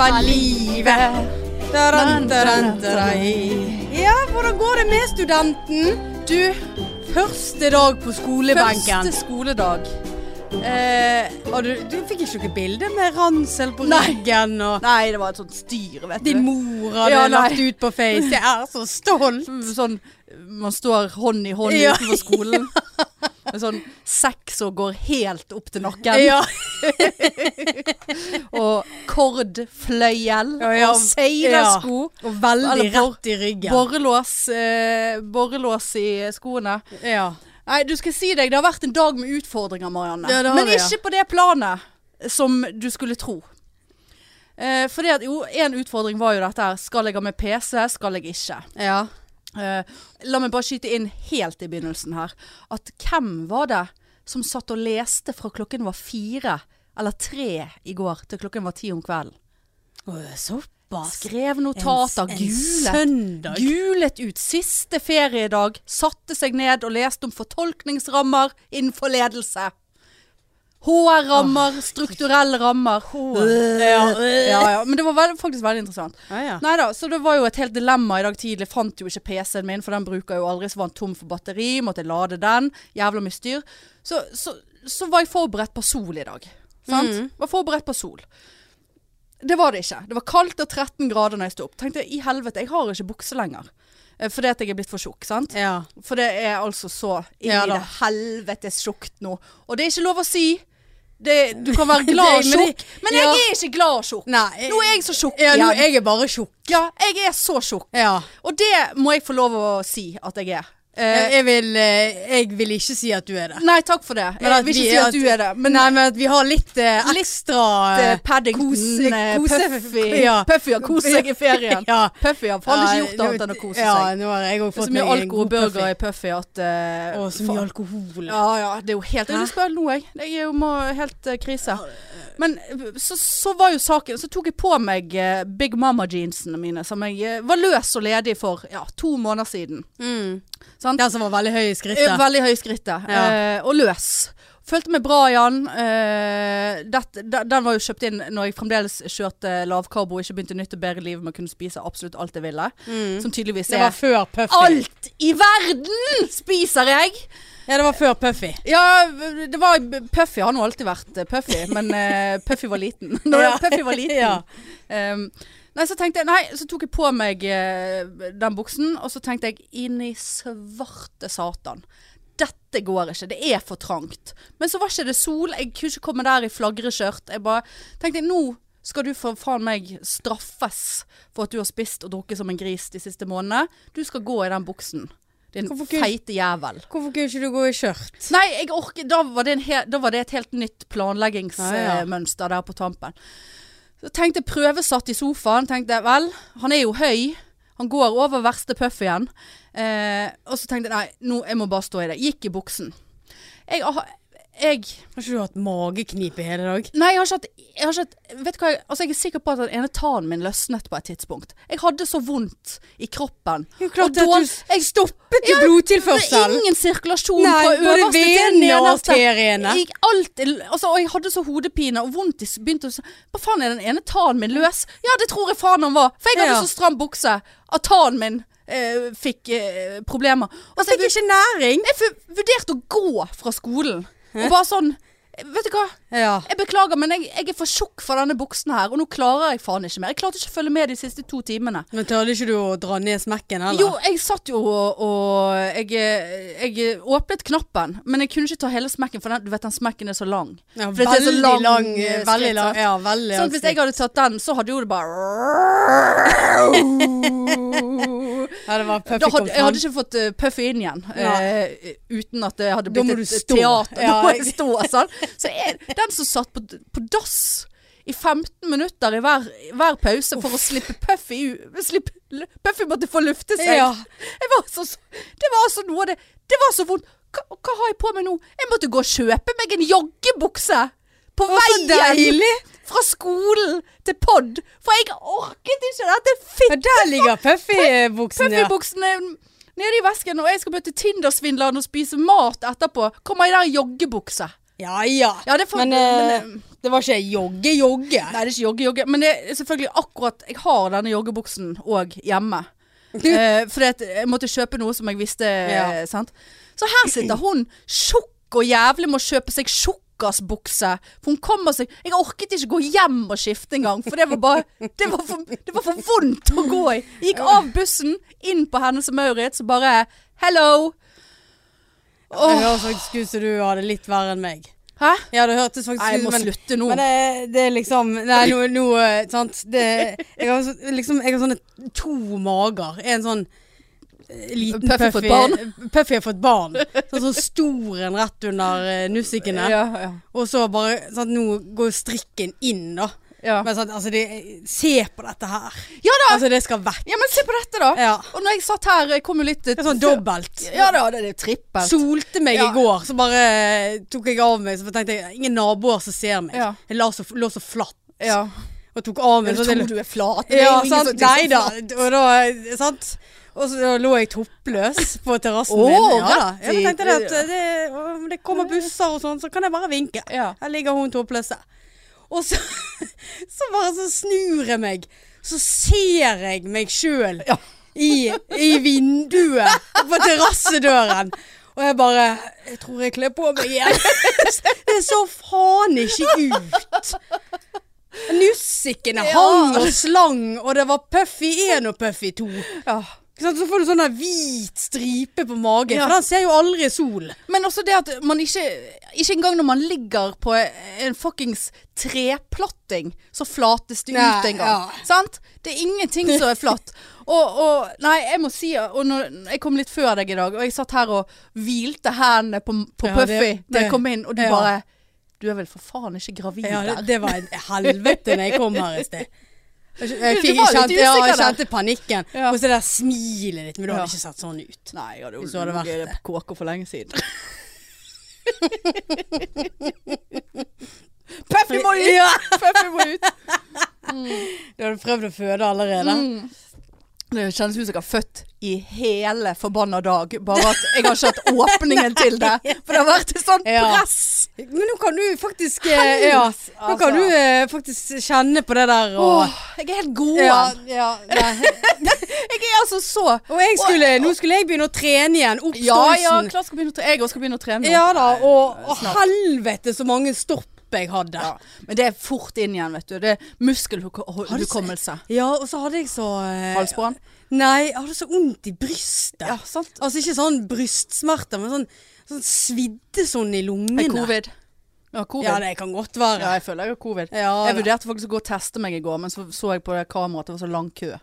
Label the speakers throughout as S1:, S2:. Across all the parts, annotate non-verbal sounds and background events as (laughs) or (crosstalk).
S1: av livet. Daran, daran, darai. Ja, hvordan går det med studenten?
S2: Du,
S1: Første dag på skolebenken.
S2: første skoledag.
S1: Eh, og du, du fikk ikke noe bilde med ransel på ryggen og
S2: Nei, det var et sånt styr, vet
S1: Din
S2: du.
S1: mor hadde
S2: Ja, nei.
S1: lagt ut på Face. Jeg er så stolt.
S2: Sånn, man står hånd i hånd
S1: Ja.
S2: utenfor
S1: (laughs)
S2: skolen. Med sånn sekk som går helt opp til nakken.
S1: Ja.
S2: (laughs) Og kordfløyel.
S1: Ja, ja.
S2: Og seilersko.
S1: Og veldig
S2: Eller bor-
S1: rett i ryggen.
S2: Borrelås, eh, borrelås i skoene.
S1: Ja.
S2: Nei, du skal si deg, det har vært en dag med utfordringer, Marianne.
S1: Ja, det har
S2: Men
S1: det, ja.
S2: ikke på det planet som du skulle tro. Eh, for det at, jo, en utfordring var jo dette her. Skal jeg ha med PC, skal jeg ikke?
S1: ja.
S2: Eh, la meg bare skyte inn helt i begynnelsen her. At hvem var det som satt og leste fra klokken var fire eller tre i går til klokken var ti om kvelden?
S1: Såpass.
S2: Skrev
S1: Tater
S2: notater, gulet.
S1: søndag.
S2: Gulet ut siste feriedag, satte seg ned og leste om fortolkningsrammer innenfor ledelse. HR-rammer, strukturelle rammer. Ja, ja, ja. Men det var vel- faktisk veldig interessant.
S1: Ja, ja.
S2: Nei da, så det var jo et helt dilemma i dag tidlig. Fant jo ikke PC-en min, for den bruker jeg jo aldri. Så var den tom for batteri, måtte jeg lade den. Jævla mye styr. Så, så, så var jeg forberedt på sol i dag. Sant?
S1: Mm.
S2: Var forberedt på sol. Det var det ikke. Det var kaldt og 13 grader når jeg sto opp. Tenkte jeg, i helvete, jeg har ikke bukse lenger. Eh, Fordi at jeg er blitt for tjukk, sant?
S1: Ja.
S2: For det er altså så inn
S1: Ja
S2: i
S1: da.
S2: det helvetes tjukt nå. Og det er ikke lov å si. Det, du kan være glad og
S1: (laughs) Det- men det-
S2: tjukk, men jeg
S1: ja.
S2: er ikke glad og tjukk.
S1: Nei.
S2: Nå er jeg så tjukk
S1: Ja, nå
S2: igjen.
S1: er jeg bare tjukk.
S2: Ja, jeg er så tjukk.
S1: Ja.
S2: Og det må jeg få lov å si at jeg er.
S1: Jeg,
S2: Eh,
S1: jeg, vil, eh, jeg vil ikke si at du er det.
S2: nei, takk for det.
S1: Men
S2: Jeg
S1: at
S2: vil
S1: vi-
S2: ikke si
S1: at-
S2: at du er det. Men
S1: Nei, men at vi har litt eh,
S2: Litt,
S1: ekstra
S2: eh,
S1: eh,
S2: Paddington,
S1: kose-
S2: eh,
S1: kose-
S2: Puffy, (laughs)
S1: ja.
S2: Puffy har kost seg i (laughs) ferien.
S1: Ja.
S2: Puffy har faen
S1: Ja,
S2: ikke gjort annet
S1: nå-
S2: enn å kose
S1: ja,
S2: seg.
S1: nå har jeg òg
S2: Det er
S1: fått
S2: så mye
S1: meg en
S2: alkohol
S1: god
S2: og burger
S1: puffy.
S2: i Puffy at eh,
S1: Å, så
S2: faen.
S1: mye alkohol.
S2: Ja ja, det er jo helt Jeg har lyst på øl nå, jeg. Jeg er jo må- helt eh, krise. Men eh, så, så var jo saken Så tok jeg på meg eh, Big Mama-jeansene mine, som jeg eh, var løs og ledig for ja, to måneder siden. Mm. Sant?
S1: Den som var veldig høy i
S2: Eh,
S1: skrittet.
S2: Veldig høy i skrittet.
S1: Ja.
S2: eh, og løs. Følte meg bra i den. Eh, dette- de- den var jo kjøpt inn når jeg fremdeles kjørte lavkarbo, ikke begynte nytt og bedre liv med å kunne spise absolutt alt jeg ville. Som tydeligvis
S1: Mm. Det var
S2: er
S1: før Puffy.
S2: Alt i verden spiser jeg!
S1: Ja, det var før Puffy.
S2: Ja, det var Puffy har nå alltid vært eh, Puffy, men eh, Puffy var liten. (laughs) Når
S1: (laughs) Ja.
S2: Puffy var liten.
S1: Ja.
S2: Ehm, nei, så tenkte jeg Nei, så tok jeg på meg eh, den buksen, og så tenkte jeg inn i svarte satan. Dette går ikke, det er for trangt. Men så var ikke det sol, jeg kunne ikke komme der i flagreskjørt. Jeg bare tenkte nå skal du for faen meg straffes for at du har spist og drukket som en gris de siste månedene. Du skal gå i den buksen. Din
S1: Hvorfor kunne-
S2: feite jævel.
S1: Hvorfor kunne ikke du gå i skjørt?
S2: Nei, jeg orker, da, var det en he, da var det et helt nytt
S1: Ja, ja.
S2: planleggingsmønster der på tampen. Så tenkte jeg prøvesatt i sofaen. Tenkte jeg, vel, han er jo høy. Han går over verste puff igjen. Eh, og så tenkte jeg nei, nå, jeg må bare stå i det. Gikk i buksen. Jeg, har- jeg
S1: Har ikke du hatt mageknip i hele dag?
S2: Nei, jeg har ikke hatt, jeg har ikke hatt Vet du hva, jeg, altså, jeg er sikker på at den ene tannen min løsnet på et tidspunkt. Jeg hadde så vondt i kroppen.
S1: Jo,
S2: og
S1: klart at
S2: dårlig-
S1: du
S2: jeg
S1: Stoppet jo
S2: det er
S1: blodtilførselen!
S2: ingen sirkulasjon
S1: Nei,
S2: fra
S1: både
S2: øverste til
S1: venene og
S2: nederste.
S1: arteriene.
S2: Jeg, alt, er l- altså, og jeg hadde så hodepine og vondt i s- begynte å s- Hva faen er den ene tannen min løs? Ja, det tror jeg faen han var. For jeg hadde
S1: Ja.
S2: så stram bukse at tannen min eh, fikk eh, problemer. Og så
S1: Fikk
S2: jeg,
S1: ikke næring.
S2: jeg fu- vurderte å gå fra skolen. Og bare sånn Vet du hva?
S1: Ja.
S2: Jeg beklager, men jeg, jeg er for tjukk for denne buksen her, og nå klarer jeg faen ikke mer. Jeg klarte ikke å følge med de siste to timene.
S1: Men tørde ikke du å dra ned smekken heller?
S2: Jo, jeg satt jo og, og jeg, jeg åpnet knappen, men jeg kunne ikke ta hele smekken, for den, du vet den smekken er så lang.
S1: Ja,
S2: For dette er så
S1: veldig
S2: lang,
S1: lang,
S2: eh,
S1: veldig
S2: skritt,
S1: lang.
S2: sant?
S1: Ja, veldig
S2: Sånn,
S1: lang
S2: at hvis
S1: skritt.
S2: jeg hadde tatt den, så hadde jo det bare
S1: Ja, det var
S2: da
S1: perfekt
S2: hadde, Jeg hadde
S1: kontroll.
S2: ikke fått eh, Puffy inn igjen eh, uten at det hadde
S1: Da må
S2: blitt
S1: du
S2: et
S1: stå.
S2: teater.
S1: Ja,
S2: Da må
S1: jeg-
S2: jeg stå sånn. Så jeg, den som satt på, på dass i 15 minutter i hver, i hver pause for å slippe Puffy u- slippe, Puffy måtte få lufte seg.
S1: Ja.
S2: Jeg var så, det var altså noe av det Det var så vondt. Hva, hva har jeg på meg nå? Jeg måtte gå og kjøpe meg en joggebukse på
S1: Å, så
S2: veien
S1: deilig!
S2: fra skolen til pod. For jeg orket ikke dette
S1: Ja,
S2: fitte
S1: der ligger Puffy-buksen, ja.
S2: Puffybuksene eh, nede i vesken, og jeg skal møte Tinder-svindleren og spise mat etterpå. Kommer jeg der i joggebukse?
S1: Ja ja.
S2: Ja, det får-
S1: men,
S2: men,
S1: eh,
S2: eh,
S1: Det var ikke jogge-jogge.
S2: Nei, det er ikke jogge-jogge. Men det er selvfølgelig akkurat Jeg har denne joggebuksen òg
S1: (laughs)
S2: hjemme. Eh, fordi at jeg måtte kjøpe noe som jeg visste
S1: Ja.
S2: sant? Så her sitter hun tjukk og jævlig med å kjøpe seg tjukkasbukse. For hun kommer seg Jeg orket ikke gå hjem og skifte engang, for det var bare Det var for, det var for vondt å gå i. Jeg gikk av bussen, inn på Hennes og Maurits og bare Hello!
S1: Det
S2: Åh,
S1: høres faktisk ut som du hadde litt verre enn meg.
S2: Hæ?
S1: Ja, det hørtes faktisk
S2: Nei, jeg
S1: ut
S2: må
S1: men-
S2: slutte nå.
S1: Men det, det er liksom Nei, nå, nå eh, Sant. Det, jeg, har, så- liksom, jeg har sånne to mager. En sånn eh, liten
S2: Puffy har
S1: puffy
S2: fått barn.
S1: (laughs) Puffy har fått barn. Sånn, sånn stor en rett under eh, nussikene.
S2: Ja, ja,
S1: Og så bare sant, Nå går strikken inn, da.
S2: ja.
S1: Men sant, altså, det, se på dette her.
S2: Ja da!
S1: Altså, det skal vekk.
S2: ja, men se på dette, da.
S1: Ja.
S2: Og når jeg satt her, jeg kom jo litt
S1: Det er sånn dobbelt.
S2: Ja da, det er jo trippelt.
S1: Solte meg
S2: Ja.
S1: i går, så bare eh, tok jeg av meg. Så tenkte jeg ingen naboer som ser meg.
S2: Ja.
S1: Jeg la så, lå så flatt
S2: ja.
S1: og tok av meg.
S2: Men
S1: sånn at jeg-
S2: du er flat.
S1: Ja, sant? Nei da. Og da, sant? Og så lå jeg toppløs på terrassen
S2: Å,
S1: min. Ja, da.
S2: rett
S1: Ja, men
S2: i-
S1: tenkte det at det, om det kommer busser og sånn, så kan jeg bare vinke.
S2: Ja.
S1: Her ligger hun toppløse. Og så, (laughs) så bare så snur jeg meg, så ser jeg meg sjøl
S2: Ja.
S1: i, i vinduet på terrassedøren. Og jeg bare Jeg tror jeg kler på meg igjen. Det så faen ikke ut. Nussikene
S2: Ja.
S1: hang og slang, og det var Puffy 1 og Puffy 2.
S2: Ja.
S1: Ikke sant? Så får du sånn der hvit stripe på magen,
S2: Ja.
S1: for den ser jo aldri sol.
S2: Men også det at man ikke Ikke engang når man ligger på en fuckings treplatting, så flates det
S1: Nei,
S2: ut en gang.
S1: ja.
S2: Sant? Det er ingenting som er
S1: (laughs)
S2: flatt. Og, og Nei, jeg må si og når, Jeg kom litt før deg i dag, og jeg satt her og hvilte hendene på, på
S1: Ja, det-
S2: Puffy da
S1: det-
S2: jeg kom inn, og du
S1: ja.
S2: bare Du er vel for faen ikke gravid
S1: Ja, det,
S2: der?
S1: det var en helvete når jeg kom her i sted. Jeg, jeg,
S2: Du var litt
S1: fikk, jeg, kjente, ja, jeg
S2: usikker der.
S1: kjente panikken.
S2: Ja.
S1: Og så det der smilet ditt, men du
S2: Ja.
S1: hadde ikke sett sånn ut.
S2: Nei, jeg hadde jo
S1: Hvis du hadde vært
S2: ligget
S1: det.
S2: på KK for lenge siden. (laughs) Puffy må ut!
S1: Ja.
S2: (laughs) Puffy må ut!
S1: Du hadde prøvd å føde allerede.
S2: Det kjennes ut som jeg har født i hele forbanna dag, bare at jeg har ikke hatt åpningen til det. For det har vært et sånt
S1: Ja.
S2: press.
S1: Men nå kan du faktisk eh, ja, Nå
S2: altså.
S1: kan du eh, faktisk kjenne på det der og
S2: Åh, jeg er helt god.
S1: Ja, ja, nei.
S2: Jeg er altså så
S1: (laughs) Og jeg skulle, nå skulle jeg begynne å trene igjen. Opp
S2: Ja ja,
S1: stolsen.
S2: klart skal begynne å tre. jeg også skal begynne å trene nå.
S1: Ja da, og, og
S2: Snart.
S1: helvete så mange stopp jeg hadde.
S2: Ja. Men det er fort inn igjen, vet du. Det er muskelhukommelse.
S1: Ja, og så hadde jeg så eh,
S2: Halsbrann.
S1: Nei, jeg hadde så vondt i brystet.
S2: Ja, sant.
S1: Altså ikke sånn brystsmerter, men sånn, sånn svidde sånn i
S2: Jeg
S1: lungene.
S2: har covid. Jeg har covid.
S1: Ja, det kan godt være.
S2: Ja, jeg føler jeg har covid.
S1: Ja,
S2: jeg
S1: da.
S2: vurderte faktisk å gå og teste meg i går, men så så jeg på det kameraet at det var så lang kø.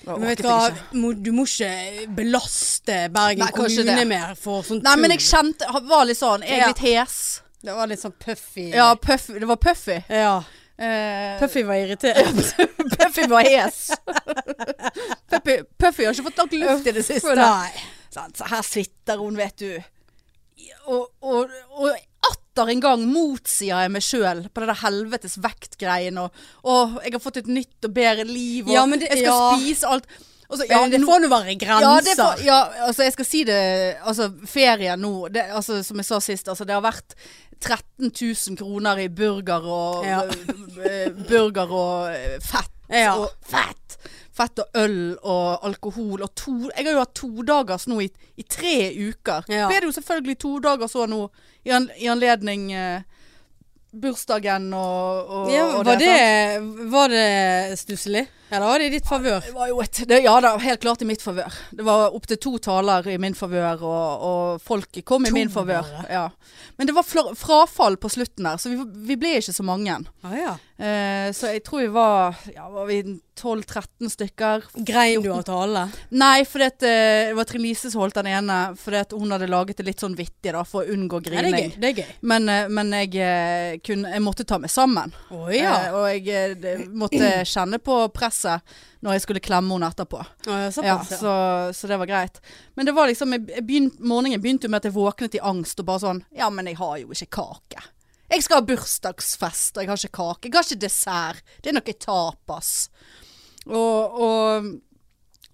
S2: Da
S1: Men vet
S2: orket
S1: du hva,
S2: jeg ikke.
S1: må, du må ikke belaste Bergen
S2: Nei, kanskje
S1: kommune
S2: det.
S1: mer for sånn sånt
S2: Nei, men jeg
S1: tull.
S2: kjente Var litt sånn Jeg
S1: Ja.
S2: er litt hes.
S1: Det var litt sånn puffy.
S2: Ja, puff, det var Puffy.
S1: Ja,
S2: Eh,
S1: Puffy var irritert.
S2: puffy var hes. (laughs) puffy, puffy har ikke fått nok luft i det siste.
S1: Nei.
S2: Sant, Så her sitter hun, vet du. Og, og, og atter en gang motsier jeg meg sjøl på det der helvetes vektgreien. Og, og jeg har fått et nytt og bedre liv, og
S1: Ja, men det-
S2: jeg skal
S1: ja.
S2: spise alt. Og så-
S1: Ja,
S2: ja,
S1: det
S2: nå-
S1: får nå være
S2: ja, det får-
S1: grenser.
S2: ja, altså jeg skal si det Altså ferien nå det, altså, Som jeg sa sist, altså, det har vært 13 000 kroner i burger og
S1: Ja.
S2: eh, Burger og eh, fett
S1: Ja.
S2: og fett Fett og øl og alkohol og to, Jeg har jo hatt to dagers nå i, i tre uker
S1: Ja.
S2: Ble det jo selvfølgelig to dager så nå I, an, i anledning eh, bursdagen og, og,
S1: Ja,
S2: og
S1: var, det,
S2: sant?
S1: var det stusselig? Eller var det i ditt favør?
S2: Det var jo et, det, ja da, helt klart i mitt favør. Det var opptil to taler i min favør, og, og folket kom i
S1: To
S2: min favør.
S1: bare?
S2: Ja. Men det var fla- frafall på slutten der, så vi, vi ble ikke så mange.
S1: Ah, ja.
S2: Eh, så jeg tror vi var, ja, var vi 12-13 stykker.
S1: Grein du av tale?
S2: Nei, fordi at, eh, det var Trine Lise som holdt den ene, fordi at hun hadde laget det litt sånn vittig da, for å unngå
S1: Nei, det er gøy.
S2: grining.
S1: Det er gøy.
S2: Men, eh, men jeg, eh, kunne, jeg måtte ta meg sammen.
S1: Å ja.
S2: Eh, og jeg eh, det-
S1: (clears throat)
S2: måtte kjenne på presset når jeg skulle klemme henne etterpå.
S1: Å, ja,
S2: Ja,
S1: såpass, ja.
S2: så, så det var greit. Men det var liksom, jeg jeg begynt, morgenen begynte jo med at jeg våknet i angst og bare sånn Ja, men jeg har jo ikke kake. Jeg skal ha bursdagsfest, og jeg har ikke kake. Jeg har ikke dessert. Det er noe tapas. Og, og,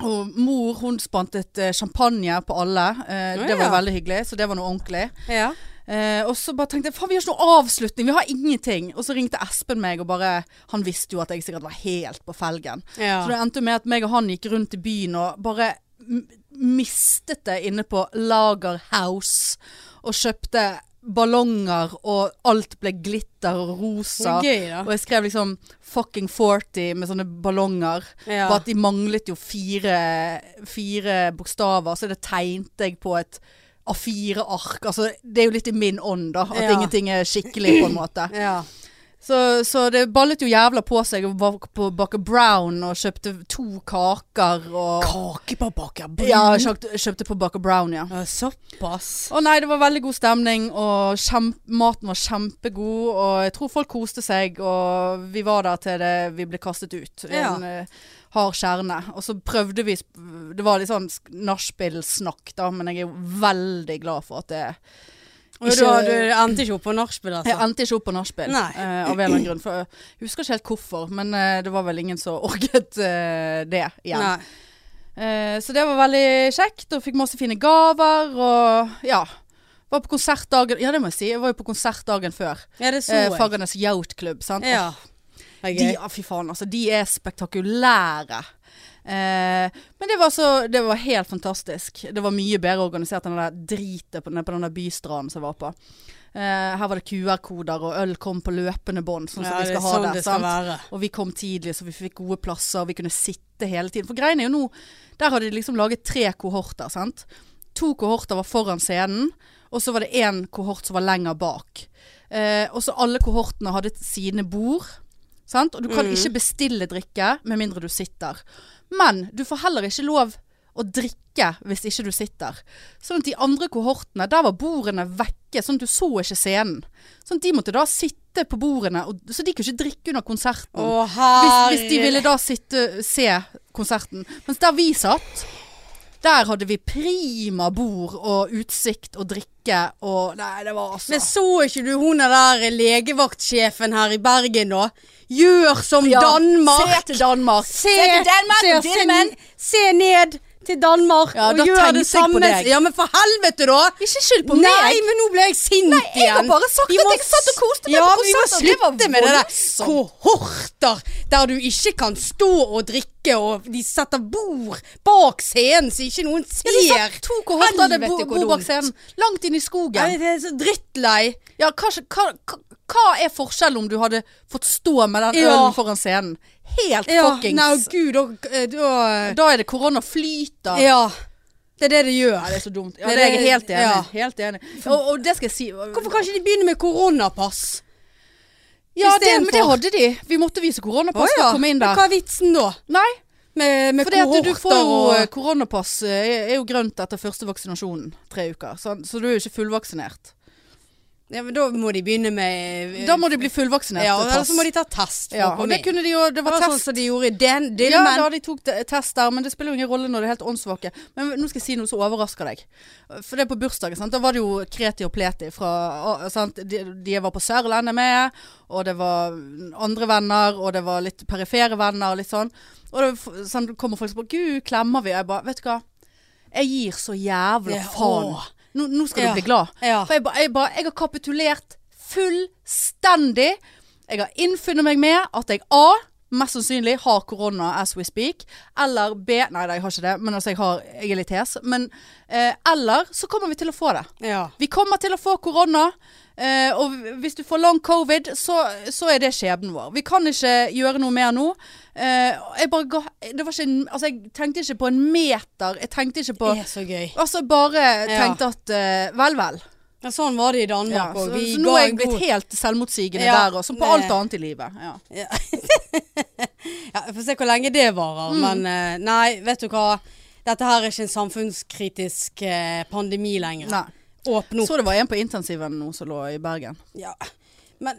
S2: og mor, hun spantet eh, champagne på alle. Eh,
S1: Å,
S2: det var
S1: ja.
S2: veldig hyggelig, så det var noe ordentlig.
S1: Ja.
S2: Eh, og så bare tenkte jeg faen, vi har ikke noe avslutning, vi har ingenting. Og så ringte Espen meg og bare Han visste jo at jeg sikkert var helt på felgen.
S1: Ja.
S2: Så det endte jo med at meg og han gikk rundt i byen og bare m- mistet det inne på Lager House. Og kjøpte ballonger, og alt ble glitter og rosa.
S1: Det er gøy, da.
S2: Og jeg skrev liksom 'fucking 40' med sånne ballonger.
S1: Ja.
S2: Bare at de manglet jo fire, fire bokstaver, så det tegnte jeg på et A4-ark. Altså, det er jo litt i min ånd, da. At
S1: Ja.
S2: ingenting er skikkelig, på en måte.
S1: Ja.
S2: Så, så det ballet jo jævla på seg. Jeg var på Baker Brown og kjøpte to kaker og
S1: Kake på baker
S2: Ja, jeg kjøpte, kjøpte på Baker Brown, ja.
S1: Ja, Såpass.
S2: Å nei, det var veldig god stemning, og kjemp, maten var kjempegod, og jeg tror folk koste seg, og vi var der til det, vi ble kastet ut. i
S1: Ja.
S2: En eh, hard kjerne. Og så prøvde vi, sp- det var litt sånn sk- nachspiel-snakk da, men jeg er jo veldig glad for at det
S1: Og
S2: Ikke-
S1: du, du endte ikke opp på nachspiel,
S2: Jeg
S1: altså?
S2: endte ikke opp på nachspiel
S1: Nei.
S2: eh, av en eller annen grunn. For jeg husker ikke helt hvorfor, men eh, det var vel ingen som (laughs) orket eh, det igjen.
S1: Nei.
S2: Eh, så det var veldig kjekt, og fikk masse fine gaver, og ja. Var på konsert dagen Ja, det må jeg si. Jeg var jo på konsert dagen før.
S1: Ja, det så
S2: Eh,
S1: jeg.
S2: Fagernes Yachtklubb, sant.
S1: Ja. Det er
S2: De,
S1: gøy.
S2: ja, fy faen, altså. De er spektakulære. Eh, men det var, så, det var helt fantastisk. Det var mye bedre organisert enn det der dritet på, den- på den der bystranden som jeg var på. Eh, her var det QR-koder, og øl kom på løpende bånd, sånn som
S1: Ja,
S2: vi skal
S1: det er
S2: ha
S1: sånn
S2: der.
S1: det skal
S2: sant?
S1: være.
S2: Og vi kom tidlig, så vi fikk gode plasser, og vi kunne sitte hele tiden. For greiene er jo nå Der hadde de liksom laget tre kohorter, sant. To kohorter var foran scenen, og så var det én kohort som var lenger bak. Eh, og så alle kohortene hadde sine bord. Sant? Og du kan ikke bestille drikke med mindre du sitter. Men du får heller ikke lov å drikke hvis ikke du sitter. Sånn at de andre kohortene, der var bordene vekke, sånn at du så ikke scenen. Sånn at de måtte da sitte på bordene, og, så de kunne ikke drikke under konserten.
S1: Å,
S2: Hvis, hvis de ville
S1: herre
S2: da sitte, se konserten. Mens der vi satt, der hadde vi prima bord og utsikt og drikke og Nei, det var altså
S1: Men så ikke du hun er der eh, legevaktsjefen her i Bergen, da? Gjør som
S2: Ja,
S1: Danmark!
S2: Se til Danmark!
S1: Se,
S2: til Danmark,
S1: se-
S2: din
S1: se-
S2: menn!
S1: se ned til Danmark
S2: Ja,
S1: og
S2: da
S1: gjør
S2: tenkte
S1: det
S2: jeg på
S1: samme.
S2: deg.
S1: Ja, men for helvete, da!
S2: Ikke skyld på
S1: Nei,
S2: meg!
S1: men nå ble jeg sint igjen.
S2: jeg har bare sagt
S1: Vi
S2: at
S1: må
S2: jeg satt og koste meg
S1: ja,
S2: på konsert, og det
S1: Vi må
S2: var
S1: slutte med det der
S2: voldsomt.
S1: kohorter der du ikke kan stå og drikke, og de setter bord bak scenen så ikke noen
S2: Ja,
S1: ser.
S2: de satt to kohorter hadde bo,
S1: Helvete, hvor
S2: bo bak
S1: dumt.
S2: scenen. Langt inn i
S1: Ja,
S2: skogen.
S1: det er så drittlei.
S2: Ja, hva, hva, hva- hva er forskjellen om du hadde fått stå med den
S1: Ja.
S2: ølen foran scenen? Helt
S1: Ja,
S2: fuckings
S1: nei, gud, da, eh, da
S2: Da er det korona flyter.
S1: Ja. Det er det det
S2: Ja,
S1: gjør.
S2: det er så dumt. Ja,
S1: Nei,
S2: det er jeg
S1: det-
S2: helt enig.
S1: ja.
S2: i. Helt enig. Og, og det skal jeg si.
S1: Hvorfor kan ikke de begynne med koronapass?
S2: Ja, det, men det
S1: istedenfor?
S2: hadde de. Vi måtte vise koronapass for å komme inn der.
S1: Men Hva er vitsen da?
S2: Nei,
S1: Med, med
S2: for det at du får
S1: kohorter
S2: jo eh,
S1: og
S2: koronapass eh, er jo grønt etter første vaksinasjonen tre uker. Så, så du er jo ikke fullvaksinert.
S1: ja, men Da må de begynne med eh,
S2: Da må de bli fullvaksinert.
S1: ja,
S2: eh,
S1: Eller
S2: pass.
S1: så må de ta test for
S2: ja,
S1: å
S2: og
S1: komme
S2: det
S1: inn.
S2: kunne de jo Det
S1: Det
S2: var
S1: var sånn
S2: test.
S1: som de gjorde i den
S2: Ja,
S1: Dillman.
S2: da de tok te- test der, men det spiller jo ingen rolle når det er helt åndssvake. Men nå skal jeg si noe som overrasker deg. For det er på bursdagen, sant. Da var det jo Kreti og Pleti fra ah, sant? De, de jeg var på Sørlandet med, og det var andre venner, og det var litt perifere venner, og litt sånn. Og det var f- sånn kommer folk og spør Gud, klemmer vi? Og jeg bare Vet du hva? Jeg gir så jævla
S1: Ja,
S2: faen.
S1: åh.
S2: Nå, nå skal
S1: Ja,
S2: du bli glad.
S1: ja.
S2: For jeg, ba, jeg, ba, jeg har kapitulert fullstendig. Jeg har innfunnet meg med at jeg A. Mest sannsynlig har korona as we speak. Eller B. Nei, nei, jeg har ikke det, men altså, jeg, har, jeg er litt hes. Men eh, eller så kommer vi til å få det.
S1: ja.
S2: Vi kommer til å få korona. eh, og hvis du får long covid, så, så er det skjebnen vår. Vi kan ikke gjøre noe mer nå. Eh, jeg bare ga Det var ikke en Altså, jeg tenkte ikke på en meter. Jeg tenkte ikke på
S1: Det er så gøy.
S2: Altså, bare tenkte at eh, Vel, vel.
S1: Ja, sånn var det i
S2: Ja,
S1: Danmark
S2: så,
S1: òg. Vi
S2: så nå
S1: ga
S2: er jeg
S1: en
S2: blitt
S1: god-
S2: helt selvmotsigende
S1: Ja,
S2: der, og som på
S1: det-
S2: alt annet i livet. Ja.
S1: ja, Vi får se hvor lenge det varer.
S2: Mm.
S1: Men eh, nei, vet du hva. Dette her er ikke en samfunnskritisk eh, pandemi lenger.
S2: Nei.
S1: Åpne opp.
S2: Så det var en på intensiven nå som lå i Bergen.
S1: Ja. Men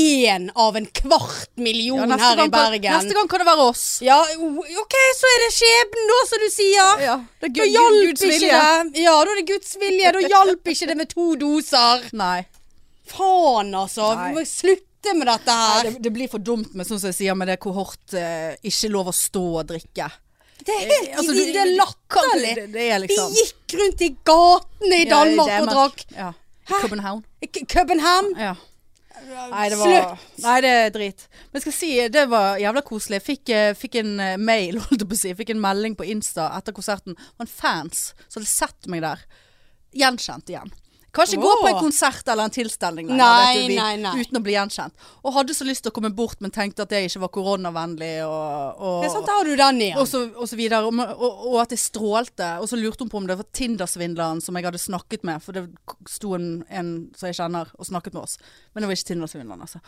S1: én av en kvart million
S2: Ja, neste,
S1: her i
S2: gang kan,
S1: Bergen.
S2: neste gang kan det være oss.
S1: Ja, o- OK, så er det skjebnen da, som du sier.
S2: Ja, det er
S1: Da
S2: Gud-
S1: hjalp
S2: Guds
S1: ikke
S2: vilje.
S1: det. Ja, da er det Guds vilje. Da hjalp ikke det med to doser.
S2: Nei.
S1: Faen, altså.
S2: Nei.
S1: Vi må slutte med dette her.
S2: Det, det blir for dumt med sånn som jeg sier med det kohort eh, ikke lov å stå og drikke.
S1: Det er helt
S2: Altså,
S1: det,
S2: du-
S1: det er
S2: du- kan ikke-
S1: latterlig.
S2: Det, det er
S1: Vi
S2: liksom
S1: gikk rundt i gatene i Danmark
S2: Ja, det er
S1: og
S2: mer-
S1: drakk.
S2: Ja. København.
S1: K- København?
S2: Ja. Nei, det var,
S1: Slutt!
S2: nei, det er drit. Men jeg skal si, det var jævla koselig. Jeg fikk, eh, fikk en eh, mail, (laughs) holdt jeg på å si. Jeg Fikk en melding på Insta etter konserten. Det var en fans som hadde sett meg der. Gjenkjent igjen. Kan ikke gå
S1: Åh.
S2: på en konsert eller en tilstelning lenger,
S1: Nei,
S2: vet du, vi-
S1: nei, nei.
S2: uten å bli gjenkjent. Og hadde så lyst til å komme bort, men tenkte at jeg ikke var koronavennlig. Og, og,
S1: Det er sant, da har du den
S2: og
S1: igjen.
S2: så, og så videre. Og, og, og at jeg strålte. Og så lurte hun på om det var Tinder-svindleren som jeg hadde snakket med. For det sto en, en som jeg kjenner og snakket med oss. Men det var ikke Tinder-svindleren, altså.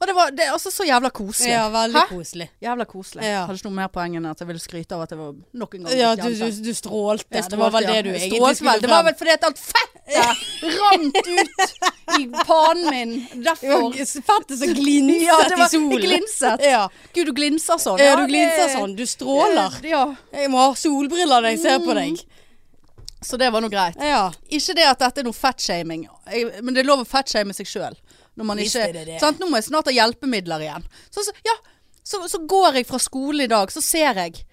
S2: Og det var det, er altså så jævla koselig.
S1: Ja, veldig
S2: Hæ?
S1: koselig.
S2: Jævla koselig.
S1: Ja.
S2: Hadde ikke noe mer poeng enn at jeg ville skryte av at jeg var nok en gang
S1: Ja,
S2: litt
S1: du,
S2: jente.
S1: du, du strålte.
S2: Jeg
S1: det var vel
S2: strålte, ja.
S1: det du
S2: Jeg
S1: egentlig
S2: strålte
S1: skulle
S2: vel. Det var
S1: frem.
S2: vel fordi at alt fettet rant ut i panen min. Derfor.
S1: Det var Fettet som glinset
S2: Ja, det var,
S1: i solen.
S2: det glinset.
S1: Ja.
S2: Gud, du glinser sånn.
S1: Ja, du
S2: det-
S1: glinser sånn. Du stråler.
S2: Ja. Mm.
S1: Jeg må ha solbriller når jeg ser på deg.
S2: Så det var nå greit.
S1: Ja.
S2: Ikke det at dette er noe fatshaming, Jeg- men det er lov å fatshame seg sjøl. Når man
S1: Visst
S2: ikke
S1: er det det.
S2: Sant? Nå må jeg snart ha hjelpemidler igjen. Så, så, ja, så, så går jeg fra skole i dag, så ser jeg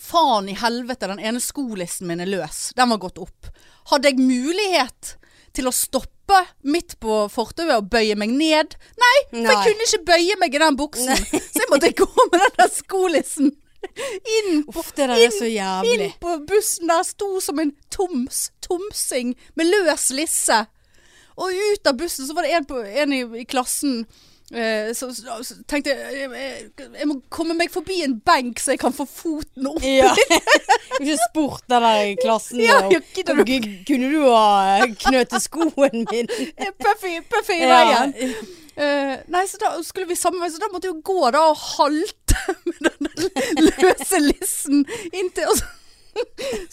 S2: Faen i helvete, den ene skolissen min er løs. Den var gått opp. Hadde jeg mulighet til å stoppe midt på fortauet og bøye meg ned? Nei, for
S1: Nei.
S2: jeg kunne ikke bøye meg i den buksen. Så jeg måtte gå med den der skolissen inn på
S1: Uff, det der er så jævlig.
S2: inn på bussen der sto som en toms, tomsing med løs lisse. Og ut av bussen så var det en, på, en i, i klassen eh, som som tenkte jeg, jeg, jeg må komme meg forbi en benk så jeg kan få foten
S1: (laughs)
S2: opp. (laughs)
S1: Ja. Ikke spurt den der i klassen.
S2: Ja,
S1: og-
S2: ja, gidder du-
S1: Gu- Kunne du ha knøtet skoen min?
S2: Puffy, puffy (laughs) i
S1: Ja.
S2: veien. Eh, nei, så da skulle vi samme vei, så da måtte jeg jo gå da og halte (laughs) med den løse lissen inntil og så,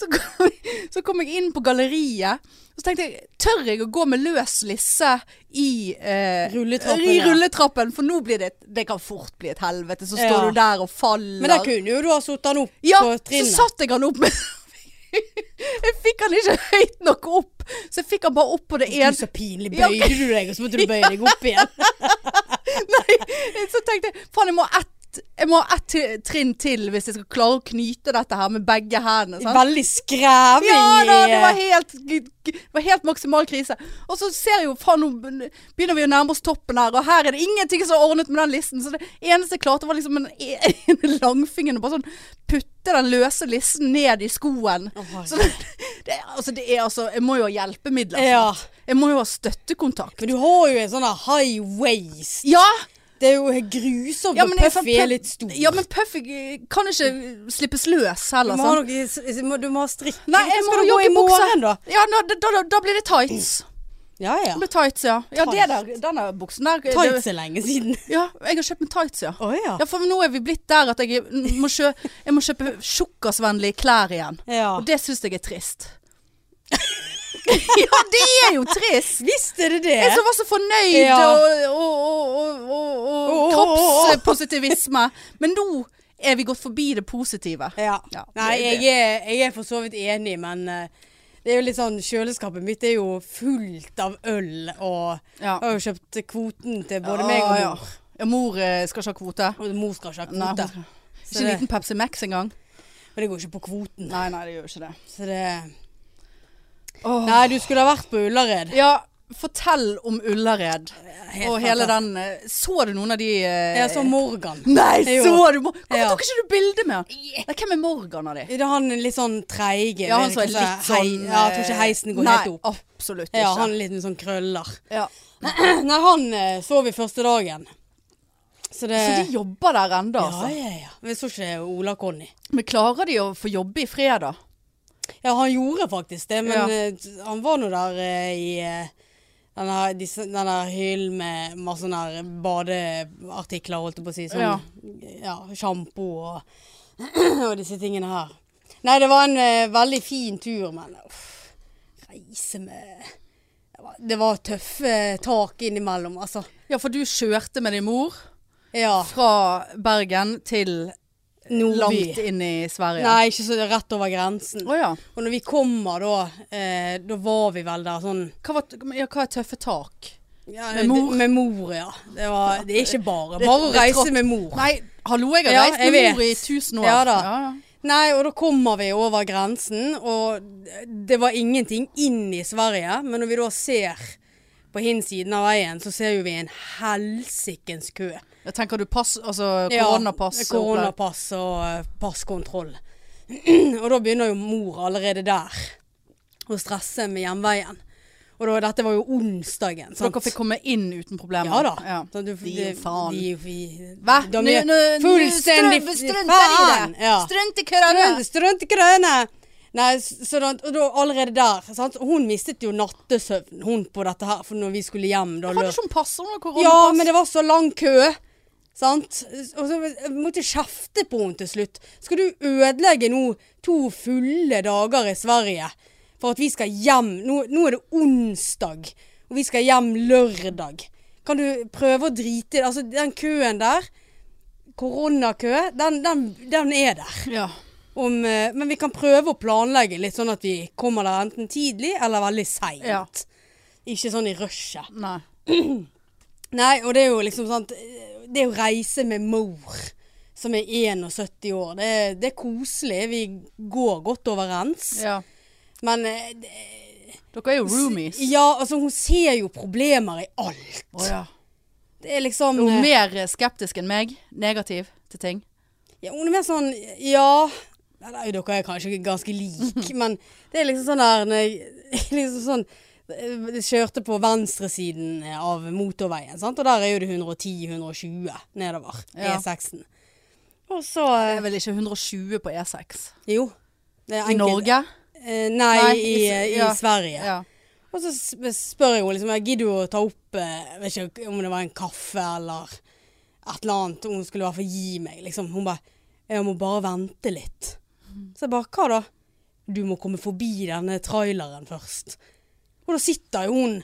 S2: så, kom jeg, så kom jeg inn på galleriet, og så tenkte jeg Tør jeg å gå med løs lisse i, eh,
S1: Rulletrappen,
S2: i
S1: ja.
S2: rulletrappen? For nå blir det Det kan fort bli et helvete. Så står
S1: Ja.
S2: du der og faller.
S1: Men der kunne jo du ha satt den opp
S2: Ja,
S1: på
S2: så
S1: trinnet.
S2: satt jeg han opp med (laughs) Jeg fikk han ikke høyt nok opp, så jeg fikk han bare opp på det
S1: Du,
S2: ene.
S1: så pinlig.
S2: Ja.
S1: Bøyde du deg, og så måtte du bøye deg opp igjen.
S2: (laughs) Så tenkte jeg, faen jeg må ha ett jeg må ha ett til- trinn til hvis jeg skal klare å knyte dette her med begge hendene. (laughs) Sant?
S1: Veldig skreving.
S2: Ja da,
S1: i-
S2: det var helt, det var helt maksimal krise. Og så ser jeg jo, faen nå begynner vi å nærme oss toppen her, og her er det ingenting som er ordnet med den listen. Så det eneste jeg klarte var liksom en, (laughs) en langfingeren og bare sånn putte den løse listen ned i skoen.
S1: Å, herregud.
S2: Så det, det, er- altså, det er altså, jeg må jo ha hjelpemidler.
S1: eh, Ja.
S2: snart. Jeg må jo ha støttekontakt.
S1: Men du har jo en sånn der high waist.
S2: Ja!
S1: Det er jo grusomt når
S2: men jeg- sånn
S1: Puffy er litt stor.
S2: Ja, men Puffy eh, kan ikke slippes løs
S1: du,
S2: heller.
S1: må ha
S2: sant?
S1: noe, s- må- du må ha strikk.
S2: Nei, jeg må
S1: Skal
S2: ha
S1: du gå i
S2: joggebukse.
S1: morgen, da?
S2: Ja, nå, da, da, da blir det tights.
S1: Ja, ja.
S2: Det blir tights, ja. Ja, det
S1: Tights.
S2: der, denne buksen der det-
S1: Tights er lenge siden.
S2: Ja, jeg har kjøpt meg tights, ja.
S1: Å ja.
S2: Ja, for nå er vi blitt der at jeg må, kjø jeg må kjøpe tjukkasvennlige klær igjen.
S1: ja.
S2: Og det syns jeg er trist. (laughs) ja, det er jo trist!
S1: Visst er det det.
S2: Jeg som var så fornøyd
S1: Ja.
S2: og,
S1: Oh.
S2: og, og, og, og, og
S1: Å, å, å, å.
S2: kroppspositivisme. Men nå er vi gått forbi det positive.
S1: Ja.
S2: Ja,
S1: Nei,
S2: det er
S1: jeg er, jeg er for så vidt enig, men eh, det er jo litt sånn Kjøleskapet mitt er jo fullt av øl, og
S2: Ja. Ah,
S1: jeg har jo kjøpt kvoten til både meg og
S2: Ja,
S1: mor.
S2: Ja, mor eh, skal ikke ha kvote.
S1: Og mor skal ikke ha
S2: Nei, hun
S1: kvote,
S2: skal-
S1: Så
S2: Ikke en
S1: det-
S2: liten Pepsi Max engang.
S1: men det går ikke på kvoten.
S2: Nei, nei, det gjør ikke det.
S1: Så det
S2: Åh.
S1: Nei, du skulle ha vært på Ullared.
S2: Ja, fortell om Ullared og hele
S1: fantastisk.
S2: den eh, Så du noen av de eh,
S1: Jeg så Morgan.
S2: Nei,
S1: Jo.
S2: så du Mor- Hvorfor
S1: Ja.
S2: tok ikke du bilde med han? Nei, Hvem er Morgan av de?
S1: Det er han litt sånn treige.
S2: Ja, han
S1: det
S2: som er
S1: kanskje
S2: litt sånn
S1: hei- Ja, jeg tror ikke heisen går
S2: nei,
S1: helt opp.
S2: Absolutt ikke.
S1: Ja, han er litt med sånn krøller. (clears throat)
S2: Ja.
S1: Nei, han eh, så vi første dagen. Så det
S2: Så de jobber der ennå, altså.
S1: Eh, Ja, ja, ja. Men jeg så ikke Ola Conny.
S2: Men klarer de å få jobbe i fredag?
S1: Ja, han gjorde faktisk det, men
S2: Ja.
S1: eh, t- han var nå der eh, i eh, den her, disse, den her hyllen med masse sånne her badeartikler, holdt jeg på å si. Sånn,
S2: Ja.
S1: ja, sjampo og, (clears throat) og disse tingene her. Nei, det var en eh, veldig fin tur, men uff, reise med det var, det var tøffe tak innimellom, altså.
S2: Ja, for du kjørte med din mor
S1: Ja.
S2: fra Bergen til langt
S1: Nordby.
S2: inn i Sverige.
S1: Nei, ikke så rett over grensen.
S2: Å ja.
S1: Og når vi kommer da, eh, da var vi vel der sånn
S2: Hva, var, ja. hva er tøffe tak?
S1: Ja,
S2: Med mor?
S1: d- Med mor, ja. Det, var, det er ikke bare
S2: Det-
S1: bare å
S2: det er
S1: reise
S2: trått.
S1: med mor.
S2: Nei, hallo, jeg har
S1: Ja,
S2: reist
S1: jeg
S2: med mor i
S1: vet.
S2: tusen år.
S1: Ja da.
S2: Ja, ja.
S1: Nei, og da kommer vi over grensen, og det var ingenting inn i Sverige. Men når vi da ser på hinsiden av veien, så ser jo vi en helsikens kø.
S2: Jeg tenker du pass, altså
S1: Ja,
S2: koronapass. og opplegg.
S1: Koronapass og eh, passkontroll. (clears throat) og da begynner jo mor allerede der å stresse med hjemveien. Og da, dette var jo onsdagen.
S2: Så Dere fikk komme inn uten problemer.
S1: Ja da.
S2: Ja.
S1: Så du,
S2: Fy
S1: det-
S2: faen.
S1: De, vi-
S2: Hva?
S1: de
S2: Nå-
S1: gjør
S2: nå- nå
S1: fullstendig
S2: strøm- strømper i
S1: faen!
S2: det.
S1: Ja.
S2: Strømt i korona.
S1: Strønt- Strønt i grønne! Nei, s- så da, og da allerede der sant? Hun mistet jo nattesøvn Hun på dette her For når vi skulle hjem da,
S2: Hadde
S1: lø-
S2: ikke hun pass? Hun hadde
S1: Ja,
S2: koronapass.
S1: men det var så lang kø Sant? Og så jeg måtte jeg kjefte på henne til slutt Skal du ødelegge nå To fulle dager i Sverige For at vi skal hjem Nå, nå er det onsdag Og vi skal hjem lørdag Kan du prøve å drite Altså den køen der Koronakø Den, den, den er der
S2: Ja.
S1: om, eh, men vi kan prøve å planlegge litt sånn at vi kommer der enten tidlig eller veldig seint.
S2: Ja.
S1: Ikke sånn i rushet.
S2: Nei.
S1: Nei, og det er jo liksom sant eh, Det er jo reise med mor som er 71 år. Det, er- det er koselig. Vi går godt overens.
S2: Ja.
S1: Men eh, det-
S2: Dere er jo roomies.
S1: Ja, altså hun ser jo problemer i alt.
S2: Å ja.
S1: Det er liksom
S2: Er hun
S1: eh,
S2: mer skeptisk enn meg? Negativ til ting?
S1: Ja, hun er mer sånn Ja Nei, dere er kanskje
S2: (laughs)
S1: ganske like, men det er liksom sånn der når jeg, (laughs) liksom sånn, jeg kjørte på venstresiden av motorveien, sant? og der er jo det 110-120 nedover
S2: Ja.
S1: E6-en. Og så eh,
S2: Det er vel ikke 120
S1: E
S2: på E6?
S1: Jo. det er
S2: I
S1: enkelt-
S2: Norge?
S1: Eh, nei,
S2: Nei,
S1: i,
S2: i-
S1: i
S2: ja.
S1: Sverige.
S2: Ja.
S1: Og så sp- spør jeg henne liksom, jeg gidder jo å ta opp, eh, jeg vet ikke om det var en kaffe eller et eller annet, hun skulle i hvert fall gi meg, liksom. Hun bare, jeg må bare vente litt. Så jeg bare, hva da? Du må komme forbi denne traileren først. Og da sitter jo hun,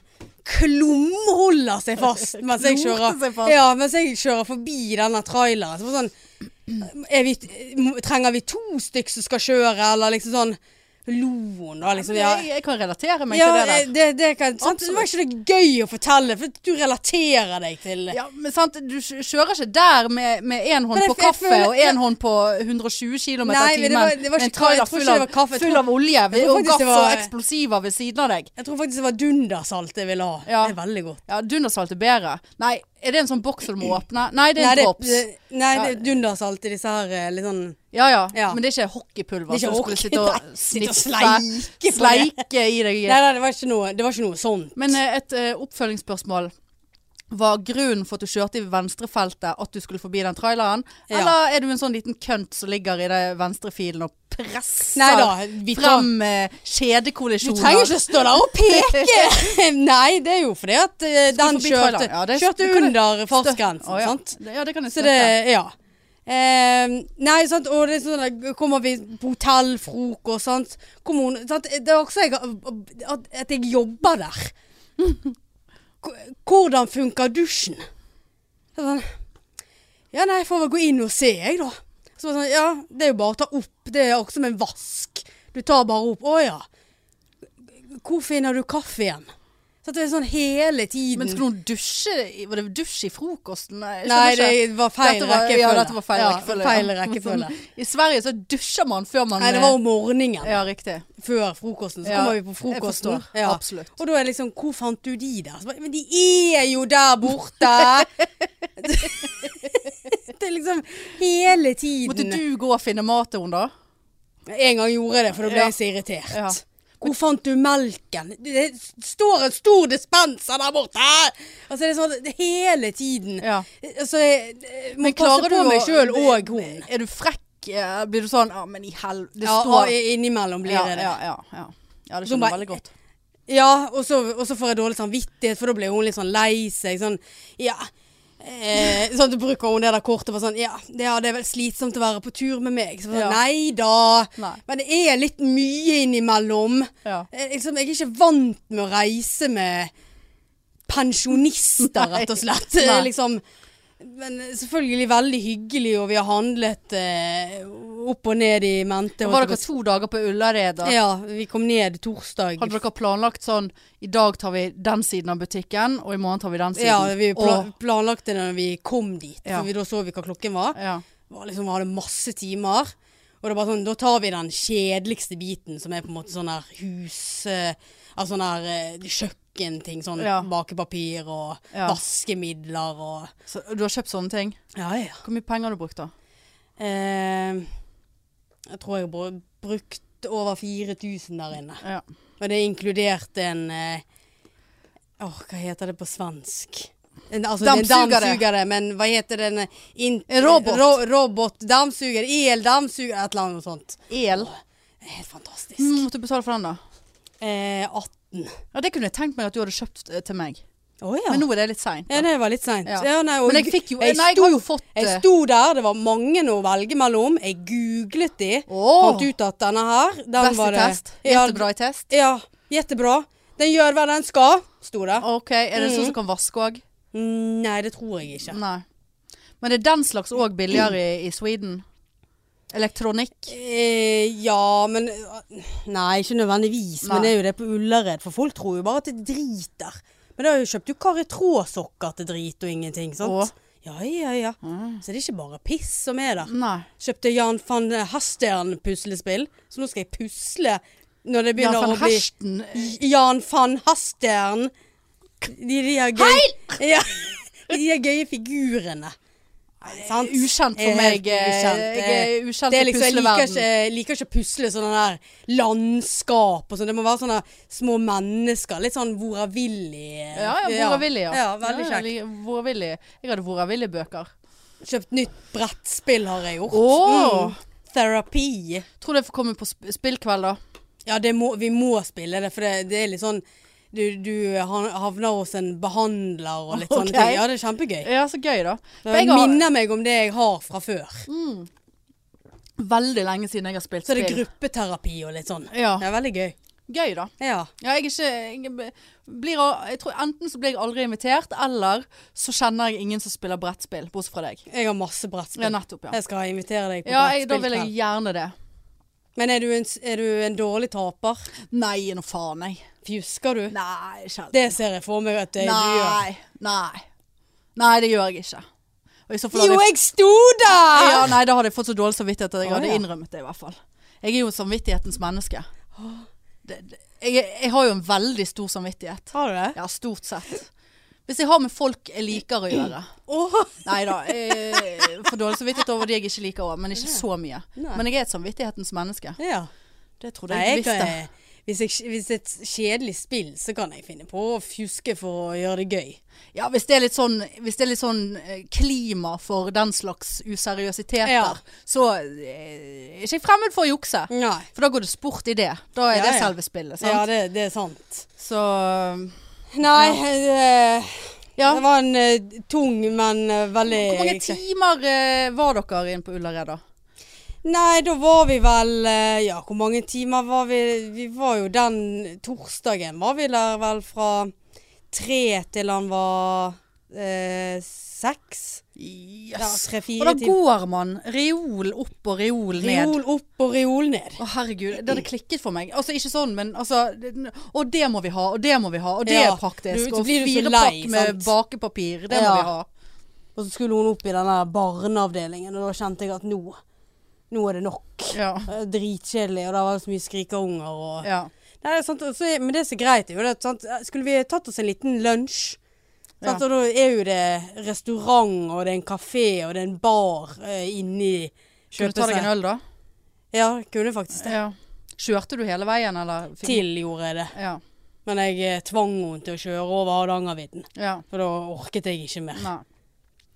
S1: klumholder seg
S2: (laughs)
S1: fast mens jeg
S2: Klumper seg fast.
S1: kjører, ja, mens jeg kjører forbi denne traileren. Så bare sånn, er vi, trenger vi to stykk som skal kjøre, eller liksom sånn, lo hun da, liksom. Ja,
S2: Jeg, jeg kan relatere meg
S1: ja, eh,
S2: til det der.
S1: det, det, kan, sant? det var ikke det gøy å fortelle, for du relaterer deg til
S2: Ja, men sant, du kj- kjører ikke der med, med en hånd
S1: Men jeg-
S2: på
S1: jeg
S2: kaffe
S1: føler-
S2: og en hånd på 120 km i
S1: Nei, men det
S2: timen. med
S1: var- det var
S2: en
S1: ikke- jeg
S2: trailer
S1: tror ikke
S2: full av,
S1: det var kaffe, jeg
S2: full
S1: tror-
S2: av olje
S1: jeg tror
S2: og
S1: faktisk
S2: gass
S1: det
S2: og
S1: var-
S2: eksplosiver ved siden av deg.
S1: Jeg tror faktisk det var dundersalt jeg ville ha.
S2: Ja.
S1: Det er veldig godt.
S2: Ja, Dundersalt er bedre. Nei, er det en sånn boks du
S1: (clears throat)
S2: må åpne? Nei, det er
S1: Nei,
S2: en
S1: det,
S2: drops.
S1: det- nei, det er dundersalt i disse her eh, litt sånn
S2: Ja, ja
S1: Ja.
S2: Men det er ikke hockeypulver
S1: Det er ikke
S2: som skulle sitte
S1: hockey,
S2: og
S1: (laughs) nei, sitte
S2: sniffe
S1: og sleike på
S2: Sleike i deg.
S1: Nei, nei det, var ikke noe, det var ikke noe sånt.
S2: Men eh, et eh, oppfølgingsspørsmål. Var grunnen for at du kjørte i venstrefeltet at du skulle forbi den traileren?
S1: Ja.
S2: Eller er du en sånn liten kønt som ligger i den venstrefilen og presser
S1: Nei da, vi tar-
S2: frem eh,
S1: Du trenger
S2: kjedekollisjoner?
S1: ikke å stå der og peke!
S2: (laughs)
S1: nei, det er jo fordi at eh, den
S2: forbi
S1: kjørte,
S2: traileren. Ja, det-
S1: kjørte
S2: du kan-
S1: under fartsgrensen,
S2: Å, ja.
S1: sant?
S2: Det- Ja, det kan jeg
S1: Så
S2: støtte.
S1: det, ja. Eh, nei, sant, og det er sånn der, kommer vi på hotell, frokost, sant. Kommer hun- sant? Det er også jeg, at, at jeg jobber der. K- Hvordan funker dusjen? Så Sånn, ja, nei, jeg får vel gå inn og se, jeg, da. Så var det sånn, ja, det er jo bare å ta opp. Det er også som en vask. Du tar bare opp. Å ja. Hvor finner du kaffe igjen? Så det er sånn hele tiden.
S2: Men skulle hun dusje? i- Var det dusj i frokosten? Jeg
S1: Nei,
S2: skjønner
S1: det
S2: ikke.
S1: var feil
S2: Dette var-
S1: rekkefølge.
S2: Ja, dette var feil
S1: Ja,
S2: rekkefølge. ja.
S1: feil rekkefølge.
S2: (laughs) I Sverige så dusjer man før man
S1: Nei, det var om morgenen
S2: Ja, riktig.
S1: før frokosten. Så
S2: Ja,
S1: kommer vi på
S2: jeg
S1: frokosten.
S2: forstår. Absolutt.
S1: Og da er liksom Hvor fant du de der? Så bare, Men de er jo der borte!
S2: (laughs)
S1: det er liksom hele tiden.
S2: Måtte du gå og finne mat til henne da?
S1: En gang gjorde jeg det, for da ble
S2: Ja.
S1: jeg så irritert.
S2: Ja.
S1: Hvor fant du melken? Det står en stor dispenser der borte! Altså, det er sånn det- hele tiden.
S2: Ja.
S1: Så jeg, jeg må
S2: Men
S1: passe
S2: klarer du
S1: på
S2: å-
S1: meg sjøl og hun.
S2: Er du frekk? eh, Blir du sånn Ja, men i helvete. Det
S1: Ja, og
S2: står
S1: innimellom blir
S2: ja,
S1: jeg det.
S2: ja, ja, ja. ja, det
S1: Så
S2: skjønner jeg
S1: bare-
S2: veldig godt.
S1: Ja, og så, og så får jeg dårlig samvittighet, for da blir hun litt sånn lei seg. Sånn, ja. Eh, sånn at du bruker hun det der kortet for sånn Ja, det, ja, det er vel slitsomt å være på tur med meg. Så, sånn,
S2: Ja.
S1: Nei da.
S2: Nei.
S1: Men det er litt mye innimellom.
S2: Ja.
S1: Eh, liksom, jeg er ikke vant med å reise med pensjonister,
S2: Nei.
S1: rett og slett.
S2: Nei.
S1: Eh, Liksom, men selvfølgelig veldig hyggelig, og vi har handlet eh, opp og ned i mente.
S2: Var dere to dager på Ullared? da?
S1: Ja, vi kom ned torsdag.
S2: Hadde dere planlagt sånn I dag tar vi den siden av butikken, og i morgen tar vi den siden?
S1: Ja, vi pla
S2: Og-
S1: planlagte det når vi kom dit,
S2: Ja.
S1: for vi, da så vi hva klokken var.
S2: ja.
S1: Det var liksom, vi hadde masse timer. Og det er bare sånn, da tar vi den kjedeligste biten, som er på en måte sånn her hus... eh, Altså sånn her eh, kjøkkenting. Sånn
S2: Ja.
S1: bakepapir og
S2: Ja.
S1: vaskemidler og
S2: Så, du har kjøpt sånne ting?
S1: Ja, ja.
S2: Hvor mye penger har du brukt da?
S1: Eh, jeg tror jeg har bru- brukt over 4000 der inne.
S2: Ja.
S1: Og det inkluderte en eh, Åh, hva heter det på svensk? En, altså,
S2: Dammsugere.
S1: En dammsugere, men hva heter den eh, in-
S2: En robot.
S1: Ro, robot, dammsuger, eldammsuger, et eller annet sånt.
S2: El?
S1: Helt fantastisk.
S2: Mm, måtte du betale for den da?
S1: Eh, 18.
S2: Ja, det kunne jeg tenkt meg at du hadde kjøpt eh, til meg.
S1: Å ja.
S2: Men nå er det litt seint.
S1: Ja, det var litt seint.
S2: Ja.
S1: Ja. nei, og
S2: Men jeg fikk jo
S1: jeg
S2: Nei, jeg
S1: sto,
S2: har jo fått eh,
S1: jeg sto der, det var mange å velge mellom. Jeg googlet de.
S2: Åh!
S1: Fant ut at denne her, den
S2: Beste
S1: var det
S2: test.
S1: Ja,
S2: Jettebra i test.
S1: Ja, jettebra. Den gjør hva den skal, sto det.
S2: Ok, Er det
S1: Mm.
S2: sånn som kan vaske òg?
S1: Nei, det tror jeg ikke.
S2: Nei. Men det er den slags òg billigere i, i Sweden? Elektronikk?
S1: Eh, ja, men Nei, ikke nødvendigvis.
S2: Nei.
S1: Men det er jo det på Ullared, for folk tror jo bare at det driter. Men da har jeg jo kjøpt jo karetrådsokker til drit og ingenting,
S2: Åh.
S1: sant? Ja, ja, ja. Så det er ikke bare piss som er der.
S2: Nei.
S1: Kjøpte Jan van Hastern-puslespill, så nå skal jeg pusle når det
S2: Jan
S1: begynner
S2: van
S1: å bli
S2: Hersten
S1: Jan van Hastern. De, de her gøy... Ja, de her gøye figurene. Sant?
S2: Ukjent
S1: Er
S2: for meg.
S1: helt
S2: eh,
S1: ukjent.
S2: Jeg er ukjent
S1: Det er
S2: i
S1: liksom, jeg liker
S2: pusleverden.
S1: ikke, jeg liker ikke å pusle sånne der landskap og sånn. Det må være sånne små mennesker. Litt sånn Vora Willy.
S2: Ja, ja, Vora Willy, ja.
S1: ja. Veldig
S2: Ja,
S1: kjekt.
S2: jeg liker Vora Willy. Jeg hadde Vora Willy-bøker.
S1: Kjøpt nytt brettspill har jeg gjort. Mm.
S2: Åh.
S1: Therapy.
S2: Tror det får komme på sp spillkveld, da.
S1: Ja, det må, vi må spille det, for det, det er litt sånn du, du han- havner hos en behandler og litt sånne
S2: Ok.
S1: ting. Ja, det er kjempegøy.
S2: Ja, så gøy, da. For
S1: Det
S2: jeg har Mm.
S1: minner meg om det jeg har fra før.
S2: veldig lenge siden jeg har spilt
S1: Så er det
S2: spill.
S1: gruppeterapi og litt sånn.
S2: Ja.
S1: Det er veldig gøy.
S2: Gøy, da.
S1: Ja.
S2: Ja, jeg er ikke jeg b- blir, al- jeg tror Enten så blir jeg aldri invitert, eller så kjenner jeg ingen som spiller brettspill, bortsett fra deg.
S1: Jeg har masse brettspill.
S2: Ja, nettopp, ja.
S1: Jeg skal invitere deg på
S2: Ja, jeg, da vil jeg
S1: brettspillkveld.
S2: gjerne det.
S1: Men er du, en, s- er du en dårlig taper?
S2: Nei, nå faen, jeg.
S1: Fjusker du?
S2: Nei, sjelden.
S1: Det ser jeg for meg at eh, du gjør.
S2: Nei, nei. Nei, det gjør jeg ikke. Og i så fall
S1: Jo,
S2: hadde jeg,
S1: jeg sto der!
S2: ja, nei, da hadde jeg fått så dårlig samvittighet at jeg
S1: Å,
S2: hadde
S1: ja.
S2: innrømmet det, i hvert fall. Jeg er jo samvittighetens menneske. Det, det, jeg, jeg har jo en veldig stor samvittighet.
S1: Har du det?
S2: Ja, stort sett. Hvis jeg har med folk jeg liker å gjøre.
S1: Åh,
S2: Nei da. eh, For dårlig samvittighet over de jeg ikke liker òg, men ikke så mye.
S1: Nei.
S2: Men jeg er et samvittighetens menneske.
S1: ja.
S2: Det trodde
S1: Nei,
S2: jeg
S1: jeg
S2: ikke visste.
S1: kan, eh, hvis, jeg, hvis det er et kjedelig spill, så kan jeg finne på å fjuske for å gjøre det gøy.
S2: Ja, hvis det er litt sånn, hvis det er litt sånn eh, klima for den slags useriøsiteter,
S1: Ja.
S2: så eh, er ikke jeg fremmed for å jukse.
S1: Nei.
S2: For da går det sport i det. Da er
S1: Ja,
S2: det
S1: ja.
S2: selve spillet, sant?
S1: Ja, det, det er sant.
S2: Så
S1: Nei, eh,
S2: Ja.
S1: det var en eh, tung, men eh, veldig
S2: Hvor mange timer eh, var dere inne på Ullared, da?
S1: Nei, da var vi vel eh, Ja, hvor mange timer var vi? Vi var jo den torsdagen var vi der vel fra tre til han var eh, seks. Ja,
S2: Yes. Og
S1: tre-fire
S2: da
S1: timer.
S2: går man reol opp og reol ned.
S1: Reol opp og reol ned.
S2: Å herregud, det hadde klikket for meg. Altså ikke sånn, men altså det- Og det må vi ha, og det må vi ha, og det
S1: Ja,
S2: er praktisk.
S1: du- så
S2: og
S1: blir du så
S2: fire
S1: lei,
S2: pakk med
S1: sant?
S2: bakepapir, det må
S1: Ja.
S2: vi ha.
S1: Og så skulle hun opp i den der barneavdelingen, og da kjente jeg at nå Nå er det nok.
S2: Ja.
S1: Det er Dritkjedelig, og der var det så mye skrikeunger og
S2: ja.
S1: Nei, det er sant, og så er- men det som er greit, er jo det at sant, Skulle vi tatt oss en liten lunsj sant,
S2: Ja.
S1: Og da er jo det restaurant, og det er en kafé, og det er en bar eh, inni
S2: Skulle du ta deg en øl, da?
S1: Ja, kunne faktisk det.
S2: Ja. Kjørte du hele veien, eller? fikk-
S1: Til gjorde jeg det.
S2: Ja.
S1: Men jeg eh, tvang henne til å kjøre over Hardangervidda.
S2: ja.
S1: For da orket jeg ikke mer.
S2: Nei.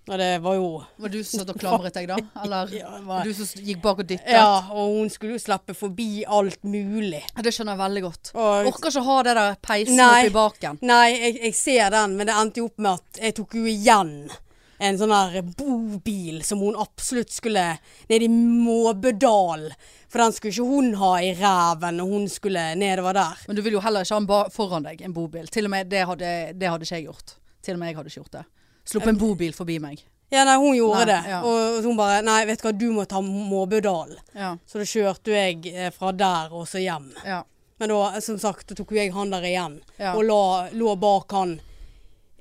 S1: Og det var jo
S2: Var det du som satt og klamret deg, da? Eller
S1: (laughs) Ja,
S2: var
S1: hva-
S2: det du som gikk bak og dyttet?
S1: Ja, og hun skulle jo slippe forbi alt mulig.
S2: Ja, Det skjønner jeg veldig godt.
S1: Og
S2: Orker ikke ha det der peisen
S1: Nei.
S2: oppi baken.
S1: Nei, jeg, jeg ser den, men det endte jo opp med at jeg tok jo igjen en sånn her bobil som hun absolutt skulle ned i Måbedal. For den skulle ikke hun ha i ræven når hun skulle nedover der.
S2: Men du vil jo heller ikke ha en ba foran deg, en bobil. Til og med det hadde, det hadde ikke jeg gjort. Til og med jeg hadde ikke gjort det. Sluppet en bobil forbi meg.
S1: Ja, nei, hun gjorde
S2: Nei,
S1: det.
S2: ja.
S1: Og hun bare Nei, vet du hva, du må ta Måbedal.
S2: Ja.
S1: Så da kjørte jo jeg eh, fra der og så hjem.
S2: ja.
S1: Men da, eh, som sagt, da tok jo jeg han der igjen.
S2: Ja.
S1: Og la, lå bak han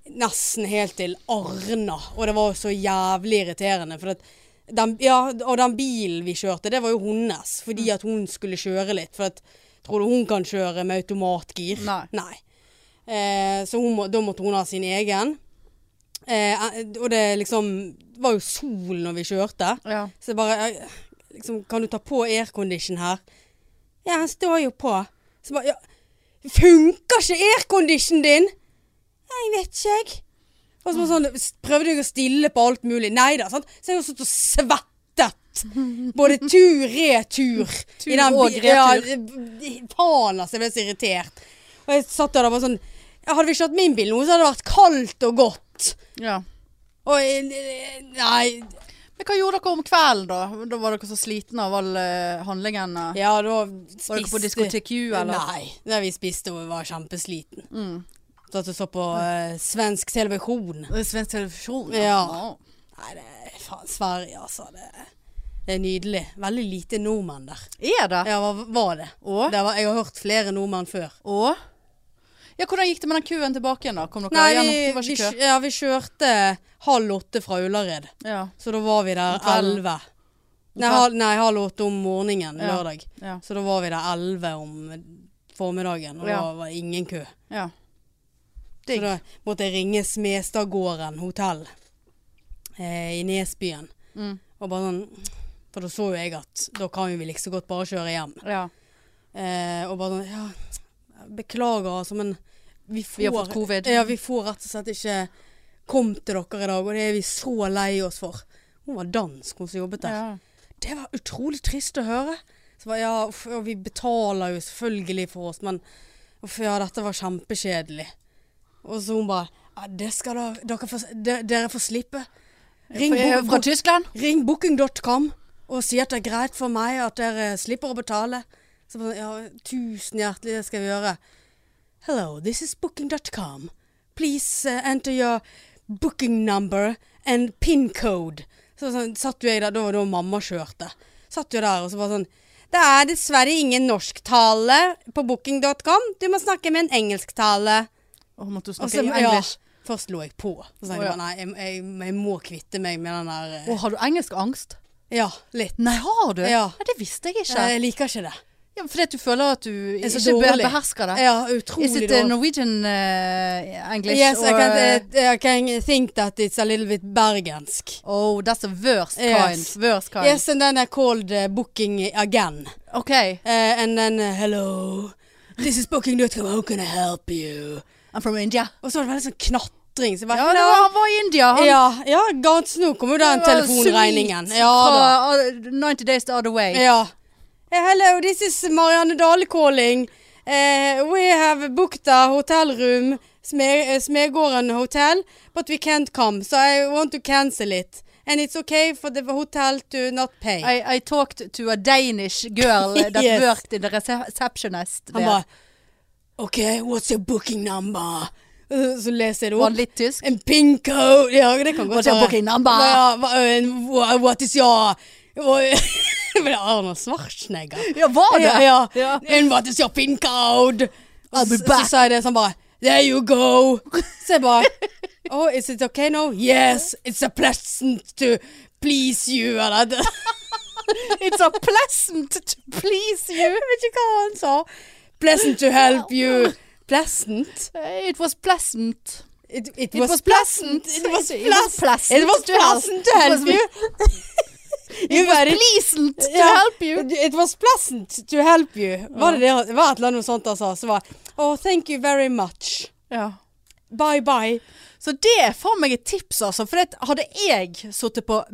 S1: nesten helt til Arna. Og det var jo så jævlig irriterende. For at den, ja, og den bilen vi kjørte, det var jo hennes. Fordi
S2: Mm.
S1: at hun skulle kjøre litt. For at, tror du hun kan kjøre med automatgir?
S2: Nei.
S1: Eh, så hun må, da måtte hun ha sin egen. Eh, og det liksom var jo sol når vi kjørte.
S2: Ja.
S1: Så jeg bare jeg- liksom, Kan du ta på aircondition her? Ja, den står jo på. Så bare ja, Funker ikke aircondition din? Nei, Jeg vet ikke, jeg. Og så bare sånn, s- prøvde jeg å stille på alt mulig. Nei da. sant? Så jeg har stått og svettet. Både tur-retur.
S2: Tur
S1: i den
S2: og
S1: bi-
S2: retur.
S1: Ja, b- faen, altså. Jeg ble så irritert. Og jeg satt der og bare sånn ja, Hadde vi ikke hatt min bil nå, så hadde det vært kaldt og godt.
S2: ja.
S1: Og eh, Nei.
S2: Men hva gjorde dere om kvelden, da? Da var dere så slitne av all eh, handlingen. eh.
S1: Ja, da
S2: Var dere på
S1: spiste
S2: diskotek U, eller? Mm.
S1: Nei, det vi spiste og var kjempesliten. Satt og så på eh, svensk televisjon.
S2: Det er Svensk televisjon?
S1: Ja. Nei, det er faen Sverige, altså. Det, det er nydelig. Veldig lite nordmenn der.
S2: Ja. Er det?
S1: Ja, hva var det?
S2: Og?
S1: det var, jeg har hørt flere nordmenn før.
S2: Og? Ja, hvordan gikk det med den køen tilbake igjen da? Kom dere
S1: Nei, vi,
S2: igjen? Det var
S1: vi,
S2: ikke kø.
S1: kj- ja, vi kjørte halv åtte fra Ullared.
S2: Ja,
S1: Så da var vi der
S2: Om kvelden?
S1: elleve.
S2: Om
S1: Nei,
S2: kvelden?
S1: hal- nei, halv åtte om morgenen
S2: Ja.
S1: lørdag.
S2: ja,
S1: Så da var vi der elleve om formiddagen, og
S2: Ja.
S1: da var det ingen kø.
S2: ja.
S1: Så
S2: Digg.
S1: da måtte jeg ringe Smestadgården hotell eh, i Nesbyen.
S2: Mm.
S1: Og bare sånn For da så jo jeg at da kan jo vi like så godt bare kjøre hjem.
S2: Ja.
S1: Eh, og bare sånn Ja, beklager altså, men vi får
S2: Vi har fått covid.
S1: Ja, vi får rett og slett ikke kommet til dere i dag, og det er vi så lei oss for. Hun var dansk, hun som jobbet der.
S2: Ja.
S1: Det var utrolig trist å høre. Så bare, ja, uff, ja, vi betaler jo selvfølgelig for oss, men uff, ja, dette var kjempekjedelig. Og så hun bare, ja, det skal da, dere, får, de, dere får slippe. Ring,
S2: For jeg er jo
S1: bo-
S2: fra
S1: bo-
S2: Tyskland?
S1: ring booking.com og si at det er greit for meg at dere slipper å betale. Så bare, ja, tusen hjertelig, det skal vi gjøre. Hello, this is booking.com. Please uh, enter your booking number and pin code. Så sånn, satt jo jeg der, da var det jo mamma kjørte. Satt jo der og så bare sånn Det er dessverre ingen norsktale på booking.com. Du må snakke med en engelsktale.
S2: Å, måtte du
S1: Og
S2: snakke
S1: så-
S2: engelsk?
S1: først lå jeg på. Så tenkte
S2: Å,
S1: jeg
S2: ja.
S1: bare nei, jeg, jeg, jeg må kvitte meg med den der eh,
S2: Å, har du engelsk angst?
S1: Ja, litt.
S2: Nei, har du?
S1: Ja.
S2: Nei, det visste jeg ikke.
S1: Nei, Jeg liker ikke det.
S2: Ja, fordi at du føler at du
S1: Jeg er så
S2: ikke be-
S1: dårlig.
S2: behersker det.
S1: Ja,
S2: Is
S1: utrolig
S2: it uh, Norwegian uh, English?
S1: Yes, I
S2: or,
S1: can,
S2: uh,
S1: eh, I can think that it's a little bit bergensk.
S2: Oh, that's a worst
S1: Yes.
S2: kind. Worst kind.
S1: Yes, and then I called uh, booking again.
S2: Ok.
S1: Uh, and then uh, hello, this is booking.com, how can I help you?
S2: I'm from India.
S1: Og så var det veldig sånn knatring. Så jeg bare,
S2: Ja, det var, han var i India. Han
S1: ja, ja, Gans, nå kommer jo den
S2: Det var
S1: telefonregningen.
S2: sweet
S1: Ja da.
S2: fra, uh, 90 Days the Other Way.
S1: Ja. Eh, hello, this is Marianne Dahle calling. Eh, we have booked a hotel room, Sme- eh, Smegården hotel, but we can't come, so I want to cancel it. And it's okay for the hotel to not pay.
S2: I, I talked to a Danish
S1: (laughs)
S2: girl that
S1: Yes.
S2: worked in the rece- receptionist.
S1: Han
S2: there.
S1: bare OK, what's your booking number? Uh, Så leser jeg det
S2: Var han
S1: opp.
S2: litt tysk?
S1: En pin code Ja, det kan godt
S2: What's your
S1: være.
S2: booking number?
S1: Ja, hva- en- wha- what is your (laughs) Men det er Arnold Schwarzenegger.
S2: Ja, var det?
S1: Ja, ja.
S2: Ja.
S1: And what is your pin code? Og
S2: I'll be
S1: så-
S2: back.
S1: Så sa jeg det sånn bare There you go. Så
S2: (laughs)
S1: jeg bare Oh, is it okay now? Yes, it's a pleasant to please you.
S2: (laughs)
S1: Eller det-
S2: It's a pleasant to please you.
S1: Jeg vet ikke hva han sa. Pleasant to help
S2: (laughs)
S1: you. Pleasant?
S2: Uh, It was pleasant.
S1: It, it,
S2: It
S1: was,
S2: was
S1: pleasant.
S2: pleasant.
S1: It was
S2: It
S1: pleasant.
S2: was pleasant
S1: It was
S2: to help.
S1: pleasant to
S2: It
S1: help
S2: was-
S1: you. You
S2: (laughs) It was
S1: very-
S2: pleasant to
S1: Ja.
S2: help you.
S1: It was pleasant to help you. Var det det han- var et eller annet sånt han sa? Så var Oh, thank you very much.
S2: Ja.
S1: Bye bye.
S2: Så det er for meg et tips, altså. For det, hadde jeg sittet på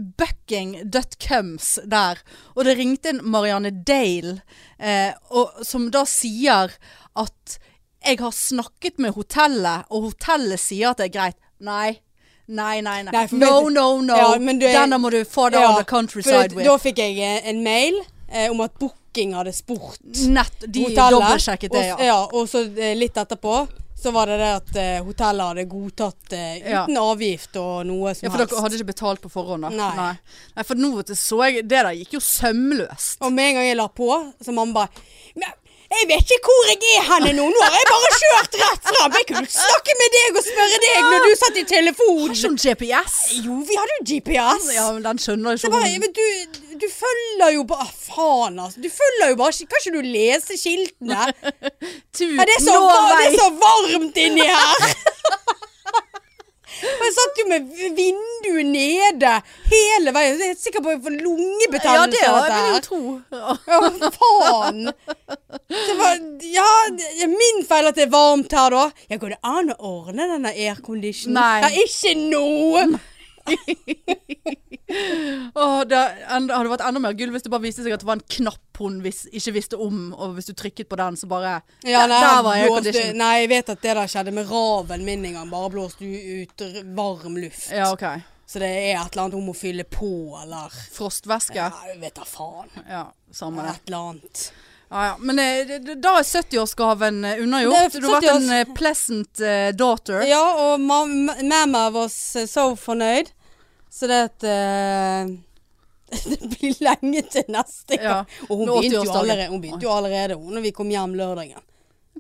S2: bucking.coms der, og det ringte en Marianne Dale, eh, og, som da sier at jeg har snakket med hotellet, og hotellet sier at det er greit. Nei. Nei, nei, nei.
S1: Nei, for
S2: no,
S1: vet-
S2: no, no.
S1: Ja, men du er-
S2: Denne må du få det on the countryside
S1: for
S2: with.
S1: da fikk jeg eh, en mail eh, om at booking hadde spurt
S2: Nett, de
S1: hotellet.
S2: dobbeltsjekket det,
S1: og,
S2: ja.
S1: ja. Og så eh, litt etterpå så var det det at eh, hotellet hadde godtatt eh,
S2: Ja.
S1: uten avgift og noe som
S2: Ja, For
S1: helst.
S2: dere hadde ikke betalt på forhånd? da?
S1: Nei.
S2: Nei. nei for nå vet du, så jeg Det der gikk jo sømløst.
S1: Og med en gang jeg la på, så mamma bare "Men Jeg vet ikke hvor jeg er henne nå. Nå har jeg bare kjørt rett fram. Jeg kunne ikke snakke med deg og spørre deg når du satt i
S2: Har
S1: telefon.
S2: ikke hun GPS?
S1: Jo, vi hadde jo GPS.
S2: Ja, men den skjønner
S1: Det
S2: ikke
S1: er bare,
S2: hun.
S1: men du, du følger jo bare ah, Faen, altså. Du følger jo bare ikke- Kan ikke du lese
S2: (laughs)
S1: skiltene?
S2: Tut,
S1: Ja, det, er så,
S2: nå
S1: var- det
S2: vei.
S1: er så varmt inni her! (laughs) Og jeg satt jo med vinduet nede hele veien. Jeg er helt sikker på at jeg får
S2: Ja,
S1: lungebetennelse
S2: det
S1: av
S2: er-
S1: dette.
S2: vil jeg jo
S1: her.
S2: tro. Ja.
S1: Ja, hva faen! Det var, ja, det er min feil at det er varmt her, da. Ja, går det an å ordne denne airconditionen?
S2: Nei.
S1: Ja, ikke nå!
S2: Åh, det enda, hadde vært enda mer gull hvis det bare viste seg at det var en knapp hun vis, ikke visste om, og hvis du trykket på den, så bare
S1: Ja, nei,
S2: Der- Der var
S1: blåste-
S2: aircondition.
S1: Nei, jeg vet at det der skjedde med raven min en gang. Bare blåste u- ut r- varm luft.
S2: Ja, OK.
S1: Så det er et eller annet hun må fylle på, eller
S2: Frostvæske.
S1: Nei, jeg vet da faen.
S2: Ja, samme det.
S1: Et eller annet.
S2: Ja, ja. Men eh, det- det- da er 70-årsgaven eh, unnagjort.
S1: Det er
S2: Du har vært en
S1: 70-års-
S2: eh, pleasant eh, daughter.
S1: Ja, og mam- mamma var s- så fornøyd. Så det at eh, (laughs) Det blir lenge til neste gang.
S2: Ja,
S1: Og hun
S2: med
S1: begynte, jo
S2: 80-årsdagen.
S1: allerede, hun begynte jo allerede hun, når vi kom hjem lørdagen.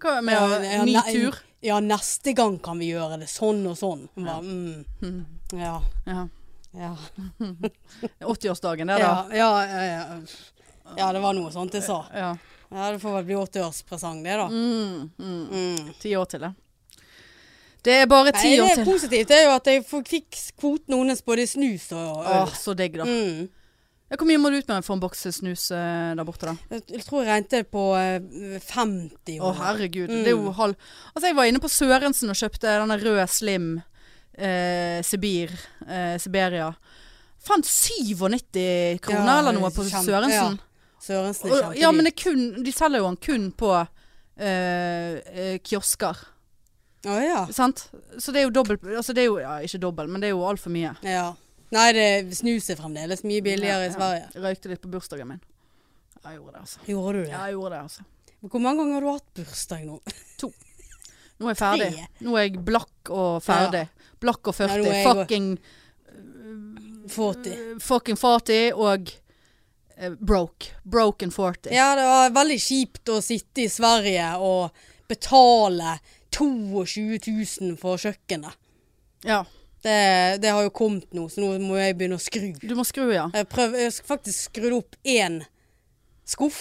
S2: Hva med
S1: Ja,
S2: eh,
S1: ja,
S2: ny
S1: ne-
S2: tur?
S1: Ja, neste gang kan vi gjøre det sånn og sånn. Hun bare mm.
S2: (laughs)
S1: Ja.
S2: Ja.
S1: Ja.
S2: 80-årsdagen der, da.
S1: Ja, ja, ja, ja. ja, det var noe sånt jeg sa.
S2: Ja.
S1: Ja, Det får vel bli 80-årspresang, det, da. Mm.
S2: Ti år til det. Det er bare
S1: Nei,
S2: ti år
S1: det
S2: til.
S1: positivt det er jo at jeg f- fikk kvoten hennes både i snus og
S2: Åh,
S1: øl.
S2: så digg, da.
S1: Mm.
S2: Ja, Hvor mye må du ut med for en boks snus eh, der borte, da?
S1: Jeg jeg tror jeg regnet på eh, 50
S2: Å, herregud.
S1: Mm.
S2: Det er jo halv Altså, jeg var inne på Sørensen og kjøpte denne røde Slim eh, Sibir. Eh, Siberia. Fant 97 kroner
S1: Ja,
S2: eller noe på
S1: kjempe-
S2: Sørensen.
S1: Sørensen er
S2: Og,
S1: kjempedyr.
S2: ja, men det er kun, de selger jo den kun på eh, eh, kiosker.
S1: Å, ja.
S2: Sant? Så det er jo dobbelt Altså, det er jo ja, ikke dobbelt, men det er jo altfor mye.
S1: ja. Nei, det snus er fremdeles mye billigere i Sverige.
S2: Ja, jeg røykte litt på bursdagen min. Jeg gjorde det, altså.
S1: Gjorde du det?
S2: Jeg gjorde det, altså.
S1: Hvor mange ganger har du hatt bursdag nå?
S2: Nå er jeg ferdig. Nå er jeg blakk og ferdig. Blakk og
S1: Ja,
S2: 40.
S1: nå er jeg også-
S2: fucking
S1: 40.
S2: fucking 40 og eh, broke. Broken 40.
S1: Ja, det var veldig kjipt å sitte i Sverige og betale 22 000 for kjøkkenet.
S2: Ja.
S1: Det, det har jo kommet nå, så nå må jeg begynne å skru.
S2: Du må skru, ja.
S1: Jeg, prøv, jeg skal faktisk skrudd opp én skuff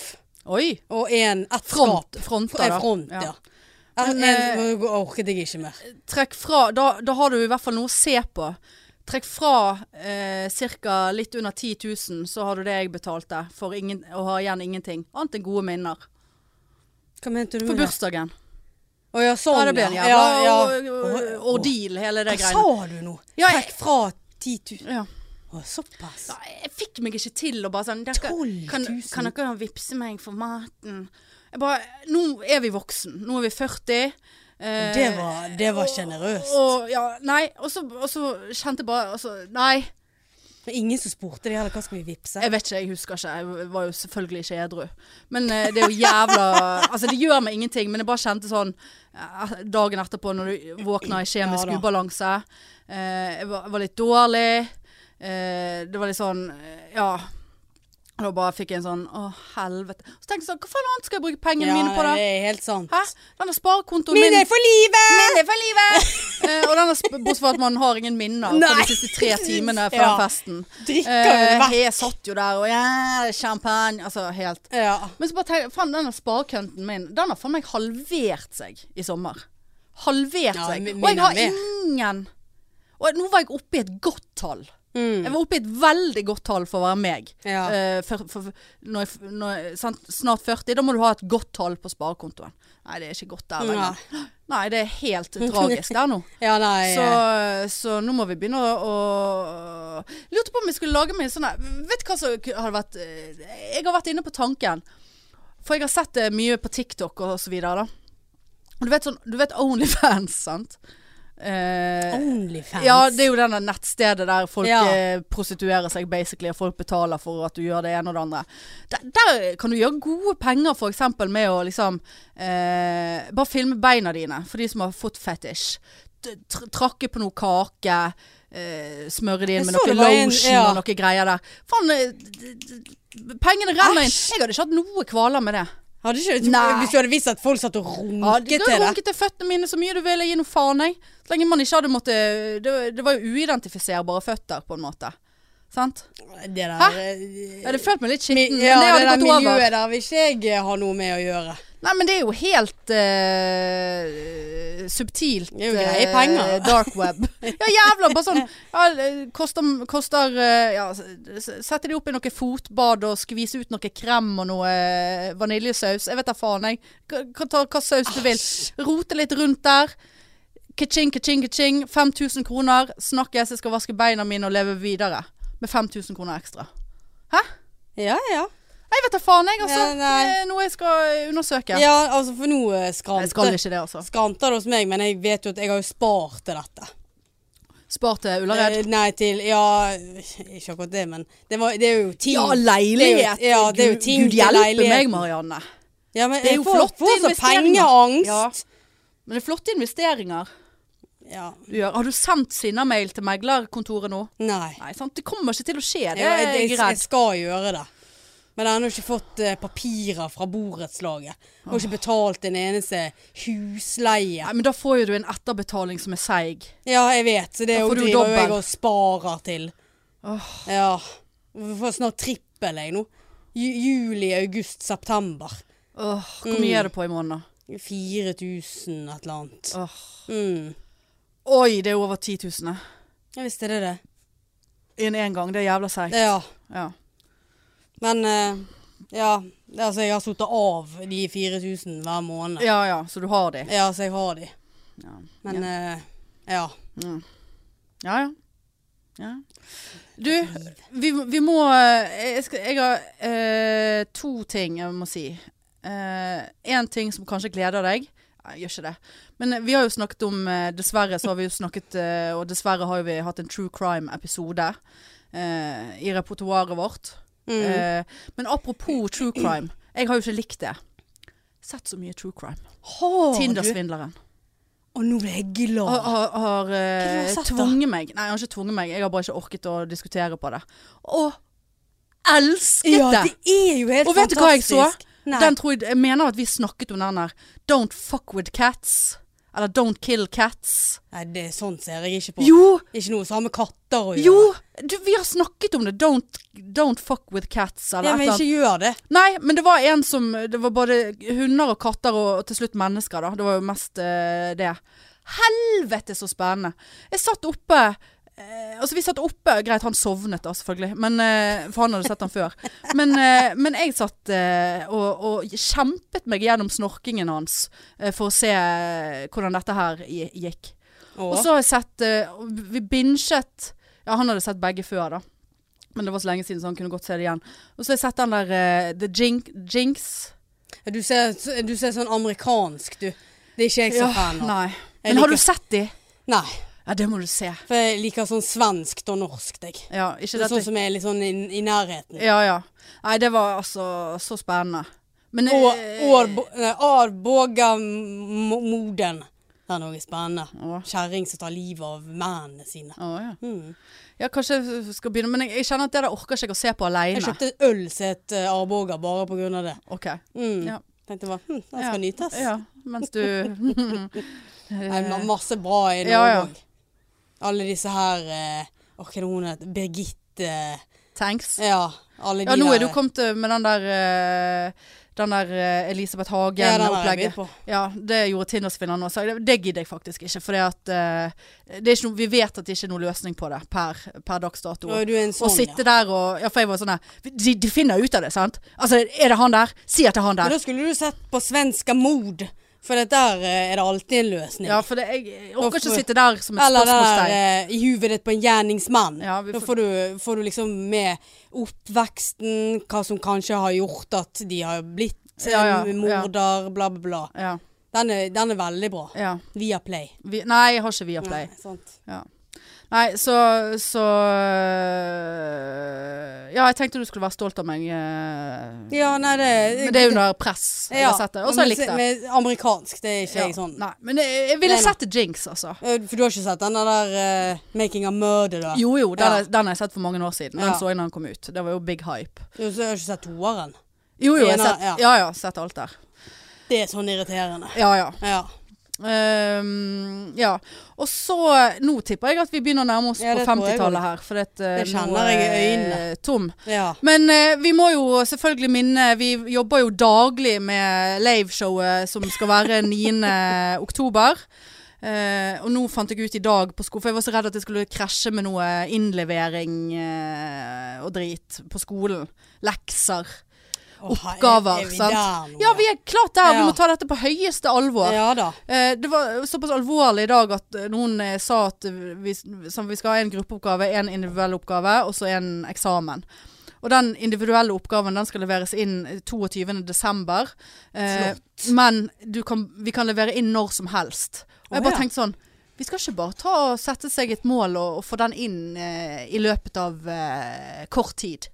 S2: Oi!
S1: og én ett skap.
S2: Front, fronter,
S1: Eh,
S2: da.
S1: Front, ja. En,
S2: Men, eh,
S1: en, orket jeg ikke mer.
S2: Trekk fra da, da har du i hvert fall noe å se på. Trekk fra eh, ca. litt under 10 000, så har du det jeg betalte. For ingen, og har igjen ingenting. Annet enn gode minner.
S1: Hva mente du
S2: For
S1: med det?
S2: bursdagen.
S1: Å ja, sånn.
S2: Ja, det ble en jævla og- og-
S1: Å,
S2: ordeal, hele det
S1: Hva
S2: greiene.
S1: sa du nå?
S2: Ja, jeg-
S1: Trekk fra 10 000.
S2: Ja.
S1: Å, såpass.
S2: Ja, Jeg fikk meg ikke til å bare sånn dere,
S1: 12 000.
S2: kan, kan dere vippse meg for maten? Jeg bare, nå er vi voksen. Nå er vi 40. eh,
S1: Det var- det var
S2: og-
S1: generøst.
S2: Og, ja, nei, og så, og så kjente jeg bare altså, Nei,
S1: Det er ingen som spurte de heller hva skal vi vippse.
S2: jeg vet ikke, jeg husker ikke. Jeg var jo selvfølgelig ikke edru. Men eh, det er jo jævla (laughs) Altså, det gjør meg ingenting, men jeg bare kjente sånn eh, dagen etterpå når du våkner i kjemisk
S1: Ja da.
S2: ubalanse. eh, jeg var, var litt dårlig. eh, det var litt sånn eh, Ja. Og da bare fikk jeg en sånn Å, helvete. Så tenkte jeg sånn Hva faen annet skal jeg bruke pengene
S1: Ja,
S2: mine på, da?
S1: det er helt sant.
S2: Hæ? Denne sparekontoen min
S1: Mine er for livet!
S2: Minne for livet! (laughs) Eh, og denne sp- bortsett fra at man har ingen minner fra
S1: Nei.
S2: de siste tre
S1: (laughs)
S2: timene fra
S1: Ja.
S2: festen.
S1: Drikker jo det
S2: Eh,
S1: vekk.
S2: jeg satt jo der og ja, champagne Altså helt.
S1: Ja.
S2: Men så bare tenk, faen, denne sparekønten min, den har faen meg halvert seg i sommer. Halvert
S1: Ja,
S2: seg.
S1: min-
S2: Og
S1: min
S2: jeg
S1: er
S2: har
S1: med.
S2: ingen Og nå var jeg oppe i et godt tall.
S1: Mm.
S2: Jeg var oppe i et veldig godt tall for å være meg.
S1: Ja.
S2: Eh, for, for, når jeg, f- når jeg, sant, snart 40, da må du ha et godt tall på sparekontoen. Nei, det er ikke godt der lenger. Nei, det er helt tragisk der nå.
S1: ja, nei.
S2: Så, så nå må vi begynne å, å Lurte på om jeg skulle lage meg en sånn her Vet du hva som ku- hadde vært eh, Jeg har vært inne på tanken. For jeg har sett det mye på TikTok og så videre. da. Og du vet, sånn, du vet Onlyfans, (laughs) sant? Eh,
S1: Onlyfans.
S2: ja, det er jo denne nettstedet der folk
S1: Ja.
S2: eh, prostituerer seg basically, og folk betaler for at du gjør det ene og det andre. Der, der kan du gjøre gode penger for eksempel med å liksom eh, Bare filme beina dine, for de som har fått fetish. T- tr- Trakke på noe kake. Eh, smøre det
S1: Jeg
S2: inn med
S1: så
S2: noe
S1: det var en-
S2: lotion
S1: ja.
S2: og noe greier der. Faen, eh, d- d- d- pengene renner inn. Jeg hadde ikke hatt noe kvaler med det.
S1: Hadde ikke,
S2: Nei.
S1: Hvis du hadde visst at folk satt og runket
S2: Ja, du
S1: til
S2: kan
S1: det.
S2: runke til føttene mine så mye du vil, jeg gir noe faen, jeg. Så lenge man ikke hadde måttet Det, det var jo uidentifiserbare føtter, på en måte. Sant?
S1: Det der,
S2: Hæ?
S1: eh,
S2: Jeg hadde følt meg litt
S1: mi,
S2: skitten.
S1: ja,
S2: men det
S1: det,
S2: hadde
S1: der
S2: gått over.
S1: miljøet der vil ikke jeg eh, ha noe med å gjøre.
S2: Nei, men det er jo helt eh, subtilt.
S1: Det er jo greie
S2: eh,
S1: penger.
S2: dark
S1: (laughs)
S2: web. ja, jævla. Bare sånn ja, eh, Koster, koster eh, ja, s- s- Sette de opp i noe fotbad og skvise ut noe krem og noe eh, vaniljesaus. Jeg vet da faen, jeg. K- Kan ta hva saus du vil. Rote litt rundt der. Ka-ching, ka-ching, ka-ching. 5000 kroner. Snakkes, jeg skal vaske beina mine og leve videre. Med 5000 kroner ekstra.
S1: Ja, ja.
S2: Jeg vet da faen, jeg, altså.
S1: Ja, nei.
S2: Det er Noe jeg skal eh, undersøke.
S1: ja altså for nå eh,
S2: Jeg skal
S1: skranter
S2: ikke det, altså.
S1: skranter det hos meg, men jeg vet jo at jeg har jo spart til dette.
S2: Spar til Ullared.
S1: Eh, Nei, til Ja, ikke akkurat det, men det, var, det er jo ting.
S2: Ja, leilighet!
S1: Det er jo- ja, det er jo ting
S2: Gud
S1: til Eh,
S2: hjelpe
S1: leiligheten.
S2: meg, Marianne.
S1: Ja, men,
S2: Det er jo
S1: jeg får-
S2: flotte
S1: får så
S2: investeringer.
S1: pengeangst.
S2: Men det er flotte investeringer
S1: Ja.
S2: du gjør. Har du sendt Sinna-mail til meglerkontoret nå?
S1: Nei.
S2: Nei, sant? Det kommer ikke til å skje, det
S1: Jeg,
S2: er
S1: jeg, jeg,
S2: jeg
S1: jeg
S2: redd.
S1: skal gjøre det. Men jeg har ennå ikke fått eh, papirer fra borettslaget. Jeg Har ikke betalt en eneste husleie.
S2: Nei, men da får jo du en etterbetaling som er seig.
S1: Ja, jeg vet. Så det
S2: Da
S1: er
S2: får
S1: jo
S2: du
S1: driver jo jeg
S2: dobbel.
S1: og sparer til.
S2: Åh.
S1: Ja. Vi får snart trippel, jeg nå. Ju juli, august, september.
S2: Åh, hvor
S1: Mm.
S2: mye er det på i måneden? da?
S1: 4000 et eller annet.
S2: Åh.
S1: Mm.
S2: Oi, det er over 10 000. eh.
S1: Ja visst er det det.
S2: I en engang. Det er jævla seigt.
S1: Ja.
S2: Ja.
S1: Men eh, ja. Altså, jeg har sittet av de 4000 hver måned.
S2: ja ja, så du har de.
S1: Ja, så jeg har de.
S2: Ja.
S1: Men eh, ja.
S2: Mm. Ja, ja. ja. Du, vi, vi må eh, Jeg, skal, jeg har eh, to ting jeg må si. Én ting som kanskje gleder deg. Nei, jeg gjør ikke det. Men vi har jo snakket om eh, Dessverre så har vi jo snakket eh, Og dessverre har jo vi hatt en true crime-episode eh, i repertoaret vårt.
S1: Mm.
S2: Eh, men apropos true crime. Jeg har jo ikke likt det. Sett så mye true crime.
S1: Har du?
S2: Tindersvindleren.
S1: Og nå ble jeg glad.
S2: Har, har, har
S1: Hva har du
S2: eh,
S1: sett, da?
S2: tvunget meg Nei, han har ikke tvunget meg. Jeg har bare ikke orket å diskutere på det. Og elsket
S1: ja,
S2: det!
S1: det er jo helt fantastisk.
S2: Og vet du hva jeg så?
S1: Nei.
S2: Den tror jeg, jeg mener at vi snakket om den der Don't fuck with cats. Eller Don't kill cats.
S1: Nei, det er sånn ser jeg ikke på.
S2: Jo!
S1: Ikke noe som har med katter å gjøre.
S2: Jo! Du, vi har snakket om det. Don't, don't fuck with cats,
S1: ja,
S2: eller et
S1: men
S2: eller annet.
S1: ikke gjør det.
S2: Nei, men det var en som Det var både hunder og katter og, og til slutt mennesker, da. Det var jo mest eh, det. Helvete, så spennende! Jeg satt oppe eh, Altså, vi satt oppe Greit, han sovnet da, selvfølgelig. Men, eh, for han hadde sett han før. Men, eh, men jeg satt eh, og, og kjempet meg gjennom snorkingen hans eh, for å se eh, hvordan dette her gi- gikk.
S1: Å.
S2: Og så har jeg sett eh, Vi binget Ja, han hadde sett begge før, da. Men det var så lenge siden, så han kunne godt se det igjen. Og så har jeg sett den der eh, The Jink, Jinx.
S1: du, ser, du ser sånn amerikansk, du. Det er ikke jeg så fan av.
S2: nei.
S1: Jeg
S2: Men har
S1: liker-
S2: du sett de?
S1: Nei.
S2: Ja, det må du se.
S1: For jeg liker sånn svenskt og norskt, jeg.
S2: Ja, ikke
S1: Det er
S2: dette. Eh,
S1: sånn som er litt sånn i, i nærheten.
S2: Ja, ja. Nei, det var altså så spennende. Men
S1: Og
S2: eh,
S1: Årbo- nei, Arboga Mo- Moden. Det er noe spennende.
S2: Å.
S1: Kjerring som tar livet av mennene sine.
S2: Å, ja.
S1: Mm.
S2: ja, kanskje jeg skal begynne Men jeg, jeg kjenner at det der orker ikke jeg å se på
S1: Jeg
S2: aleine.
S1: kjøpte øl som het eh, Arboga bare på grunn av det.
S2: Ok.
S1: Mm.
S2: Ja.
S1: Tenkte bare, hm, den
S2: Ja.
S1: skal nytes.
S2: Ja, mens du (laughs)
S1: Nei, men masse bra i Norge
S2: Ja, ja.
S1: òg. Alle disse her eh, Åh, hva er det hun heter? Birgitte eh,
S2: Thanks.
S1: Ja, alle de
S2: Ja, nå er
S1: der.
S2: du kommet eh, med den der eh, Den der eh, Elisabeth
S1: ja, den har jeg
S2: Hagen-opplegget.
S1: begynt på.
S2: Ja, det gjorde Tindersvinneren også. Det, det gidder jeg faktisk ikke. For vi vet at det ikke er noen løsning på det per, per dags dato.
S1: Nå er du en
S2: Å
S1: sånn,
S2: sitte
S1: ja.
S2: der og Ja, for jeg var sånn der de, de finner ut av det, sant? Altså, er det han der? Si at det er han
S1: Men
S2: der.
S1: da skulle du sett på svenska mord, for det der eh, er det alltid en løsning.
S2: Ja, for det, jeg, jeg orker ikke
S1: for-
S2: å sitte der som et
S1: Eller det der
S2: spørsmålstegn.
S1: eh, i huvudet på en gjerningsmann.
S2: Ja, vi
S1: Da
S2: får-
S1: får du, får du liksom med oppveksten, hva som kanskje har gjort at de har blitt eh,
S2: Ja, ja, ja.
S1: morder, bla, bla, bla.
S2: Ja.
S1: Den er, den er veldig bra.
S2: ja.
S1: Via Play.
S2: Vi, nei, jeg har ikke Viaplay.
S1: Nei, sant.
S2: Nei, så, så øh, Ja, jeg tenkte du skulle være stolt av meg. eh,
S1: Ja, nei, det
S2: Men det er under press. Jeg har sett det. Og så har jeg likt
S1: men-
S2: det.
S1: men Amerikansk, det er ikke jeg
S2: Ja.
S1: sånn.
S2: Nei, men jeg, jeg ville
S1: Nei, nei.
S2: sett The Jinx, altså.
S1: Eh, For du har ikke sett den der eh, 'Making a Murder'? da?
S2: Jo jo, den,
S1: Ja.
S2: er- den har jeg sett for mange år siden. Den
S1: Ja.
S2: så jeg da den kom ut. Det var jo big hype.
S1: Jo, så har jeg ikke sett toeren.
S2: Jo jo, jeg har
S1: Ena-
S2: sett, ja, ja, sett alt der.
S1: Det er sånn irriterende.
S2: Ja ja.
S1: Ja.
S2: Ehm, ja. Og så Nå tipper jeg at vi begynner å nærme oss
S1: Ja,
S2: på
S1: det tror jeg
S2: 50-tallet her. For øh, det,
S1: Det kjenner jeg i øynene.
S2: Tom.
S1: ja.
S2: Men eh, vi må jo selvfølgelig minne Vi jobber jo daglig med liveshowet som skal være 9. oktober. Eh, og nå fant jeg ut i dag på sko, for jeg var så redd at jeg skulle krasje med noe innlevering eh, og drit på skolen. Lekser.
S1: Å, her-
S2: Oppgaver,
S1: er vi
S2: sant?
S1: der nå?
S2: Ja, vi er klart der. Vi
S1: Ja.
S2: må ta dette på høyeste alvor.
S1: Ja da.
S2: Eh, Det var såpass alvorlig i dag at eh, noen eh, sa at eh, vi, som vi skal ha en gruppeoppgave, en individuell oppgave og så en eksamen. Og den individuelle oppgaven den skal leveres inn 22. desember. Eh, men du kan, vi kan levere inn når som helst. Og jeg
S1: Å,
S2: bare
S1: ja.
S2: tenkte sånn Vi skal ikke bare ta og sette seg et mål og, og få den inn eh, i løpet av eh, kort tid.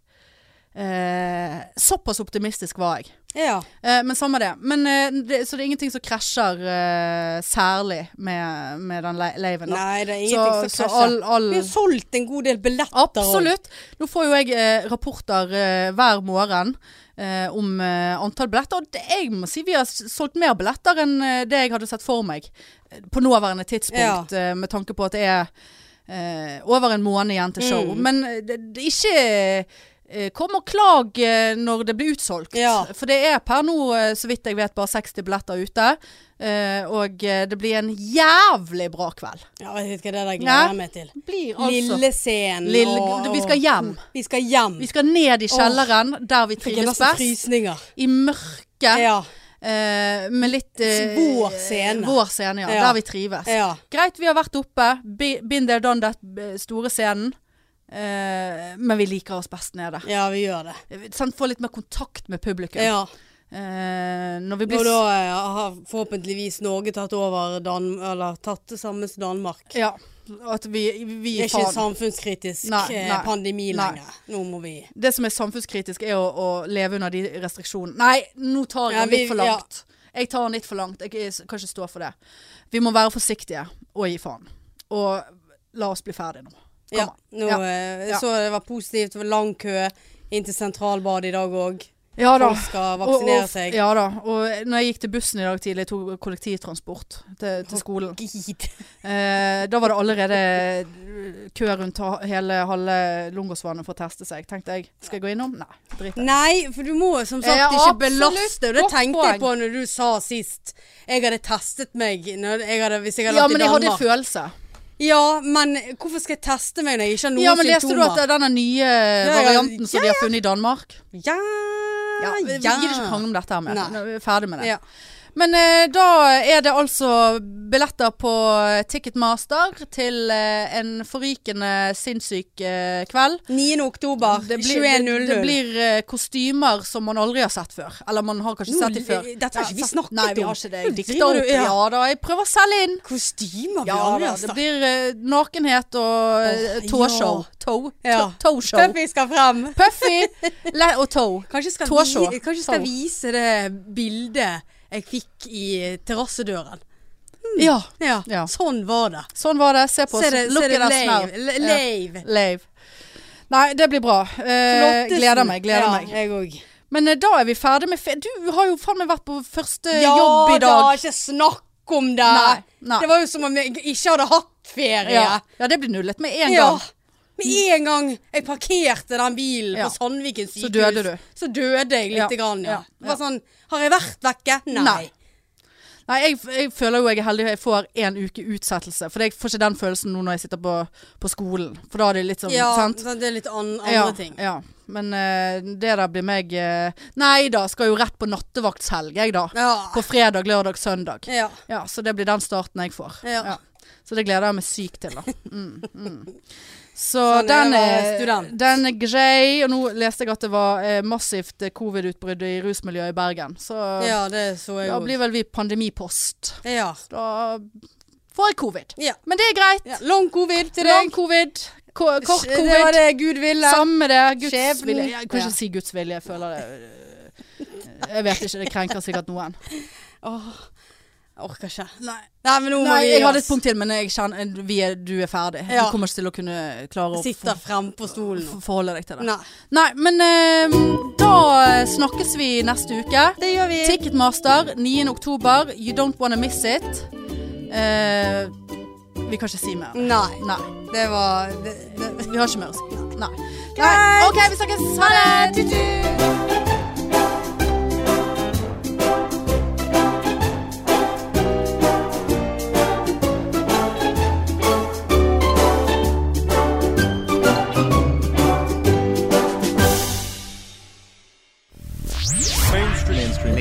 S2: Eh, såpass optimistisk var jeg.
S1: Ja.
S2: Eh, men samme det. Men, eh, det. Så det er ingenting som krasjer eh, særlig med, med den le- laven. da.
S1: Nei, det er
S2: Så,
S1: ingenting
S2: så
S1: som
S2: all,
S1: krasjer.
S2: all
S1: Vi har solgt en god del billetter. og-
S2: Absolutt. Nå får jo jeg eh, rapporter eh, hver morgen eh, om eh, antall billetter. Og det, jeg må si vi har s- solgt mer billetter enn eh, det jeg hadde sett for meg eh, på nåværende tidspunkt, eh, med tanke på at det er eh, over en måned igjen til show.
S1: Mm.
S2: Men eh, det, det er ikke eh, Kom og klag eh, når det blir utsolgt.
S1: Ja.
S2: For det er per nå, eh, så vidt jeg vet, bare 60 billetter ute. Eh, og eh, det blir en jævlig bra kveld.
S1: Ja, jeg vet ikke hva det der
S2: Nei.
S1: gleder jeg meg til.
S2: Blir
S1: altså- Lillescenen
S2: Lille-
S1: og-
S2: vi skal hjem.
S1: Vi skal hjem.
S2: Vi skal ned i kjelleren, der vi
S1: Fikk jeg
S2: trives
S1: nesten
S2: best.
S1: frysninger.
S2: I mørket,
S1: Ja.
S2: eh, med litt eh,
S1: Vår scene.
S2: Vår scene, ja,
S1: Ja.
S2: Der vi trives.
S1: ja.
S2: Greit, vi har vært oppe. Be- Been there, done that, eh, store scenen. Eh, men vi liker oss best nede.
S1: Ja, vi gjør det.
S2: Sånn, få litt mer kontakt med publikum.
S1: Ja.
S2: Eh, når vi blir
S1: Og da eh, har forhåpentligvis Norge tatt over Dan Eller tatt det samme som Danmark.
S2: s- Ja. At vi, vi
S1: Det
S2: gir
S1: er ikke
S2: faen.
S1: samfunnskritisk
S2: Nei,
S1: eh,
S2: nei.
S1: pandemi
S2: Nei.
S1: lenger. Nå må vi
S2: Det som er samfunnskritisk, er å, å leve under de restriksjonene. Nei, nå tar jeg
S1: Ja,
S2: den
S1: vi-
S2: litt for langt. Jeg tar den litt for langt. Jeg er- kan ikke stå for det. Vi må være forsiktige og gi faen. Og la oss bli ferdig nå. Kom
S1: Ja.
S2: an.
S1: Nå
S2: Ja.
S1: eh,
S2: Ja.
S1: så det var positivt. Det var lang kø inn til sentralbadet i dag òg.
S2: Ja da.
S1: Folk skal
S2: Og-
S1: vaksinere
S2: og,
S1: seg.
S2: Ja da. Og når jeg gikk til bussen i dag tidlig, jeg tok kollektivtransport til, til skolen.
S1: Gid.
S2: Eh, da var det allerede kø rundt ha- hele halve Lungåsvannet for å teste seg. Tenkte jeg, skal jeg gå innom? Nei, drit i.
S1: Nei, for du må som sagt
S2: Ja,
S1: ikke
S2: absolutt.
S1: belaste. Og det
S2: Godt
S1: tenkte
S2: poeng.
S1: jeg på når du sa sist. Jeg hadde testet meg når jeg hadde, hvis jeg hadde
S2: Ja,
S1: vært
S2: men
S1: i
S2: jeg hadde
S1: Danmark.
S2: følelse.
S1: ja, men hvorfor skal jeg teste meg når jeg ikke har noen
S2: Ja, men leste du
S1: symptomer?
S2: at det er denne nye
S1: ja.
S2: varianten som de har funnet i Danmark?
S1: Ja,
S2: Ja, vi
S1: ja.
S2: gidder ikke krangle om dette her mer.
S1: Nei.
S2: Nå er vi ferdig med det.
S1: Ja.
S2: Men eh, da er det altså billetter på eh, Ticketmaster til eh, en forrykende sinnssyk eh, kveld.
S1: 9. oktober
S2: Det blir, det, det
S1: 21.00.
S2: blir eh, kostymer som man aldri har sett før. Eller man har kanskje
S1: Nå,
S2: sett de før.
S1: dette har ikke vi
S2: sant.
S1: snakket
S2: Nei, vi
S1: om.
S2: har ikke det.
S1: Nå
S2: Jeg dikter
S1: driver du-
S2: opp. Ja.
S1: ja.
S2: da, jeg prøver å selge inn.
S1: Kostymer vi
S2: Ja,
S1: aldri
S2: da,
S1: har
S2: det
S1: altså. snakket
S2: blir eh, nakenhet og eh,
S1: Åh, ja.
S2: tåshow. Toe-
S1: Ja.
S2: to- Toe-show.
S1: Puffy skal frem.
S2: Puffy le og toe.
S1: Kanskje skal,
S2: Tåsjå.
S1: vi, kanskje skal
S2: Tå.
S1: vise det bildet jeg fikk i terrassedøren.
S2: Ja.
S1: Ja,
S2: Ja.
S1: sånn var det.
S2: Mm. Sånn var det. Se på
S1: Se
S2: oss.
S1: det, se
S2: Look
S1: det
S2: at us now.
S1: lave. le-
S2: Ja.
S1: lave.
S2: Lave. Nei, det blir bra. Eh,
S1: Flottesen.
S2: gleder meg. gleder
S1: ja,
S2: meg.
S1: Jeg òg.
S2: Men eh, da er vi ferdig med fe... Du har jo faen meg vært på første
S1: Ja
S2: Eh, jobb i
S1: da,
S2: dag.
S1: ikke snakk om det!
S2: Nei, nei.
S1: Det var jo som om jeg ikke hadde hatt ferie.
S2: ja. ja, det blir nullet med en
S1: Ja.
S2: gang.
S1: Med en gang jeg parkerte den bilen
S2: Ja.
S1: på Sandviken sykehus,
S2: døde du.
S1: Så døde jeg
S2: Ja.
S1: lite grann, ja.
S2: Ja.
S1: Det var sånn Har jeg vært vekke? Nei.
S2: Nei. Nei, jeg, jeg føler jo jeg er heldig jeg får en uke utsettelse. For jeg får ikke den følelsen nå når jeg sitter på, på skolen. For da er det litt sånn
S1: Ja,
S2: sant?
S1: så det er litt an andre
S2: ja,
S1: ting.
S2: Ja. Men eh, det der blir meg eh, Nei da, skal jo rett på nattevaktshelg, jeg da.
S1: Ja.
S2: På fredag, lørdag, søndag.
S1: ja.
S2: Ja, så det blir den starten jeg får.
S1: Ja.
S2: Så det gleder jeg meg sykt til, da. Mm, mm. Så
S1: Sånn er
S2: den,
S1: det å være
S2: er,
S1: student.
S2: den er grei. Og nå leste jeg at det var eh, massivt eh, covid-utbrudd i rusmiljøet i Bergen. Så
S1: ja, det så jeg
S2: da
S1: òg.
S2: blir vel vi pandemipost.
S1: Ja.
S2: Da får jeg covid.
S1: ja.
S2: Men det er greit.
S1: ja. Long covid til
S2: Lang
S1: deg.
S2: covid, ko kort covid.
S1: Det var det Gud ville.
S2: Samme det. Guds
S1: Skjebnen.
S2: vilje. Jeg eh, kan ikke
S1: Ja.
S2: si Guds vilje. Jeg føler det Jeg vet ikke. Det krenker sikkert noen.
S1: Åh, Jeg orker ikke.
S2: Nei.
S1: Nei, men nå må
S2: Nei,
S1: vi
S2: jeg
S1: gi
S2: hadde
S1: oss.
S2: et punkt til, men jeg kjenner, vi er, du er ferdig.
S1: Ja.
S2: Du kommer ikke til å kunne klare å
S1: Sitter
S2: for-
S1: frem på stolen.
S2: for- forholde deg til det.
S1: Nei.
S2: Nei, men eh, da snakkes vi neste uke.
S1: Det gjør vi.
S2: Ticketmaster 9. oktober. You don't wanna miss it. Eh, vi kan ikke si mer.
S1: Nei.
S2: Nei.
S1: Mm. Det var det, det.
S2: Vi har ikke mer å si. Nei. Nei.
S1: Greit.
S2: OK, vi snakkes. Ha det. Tut-tut.
S3: mainstream mainstream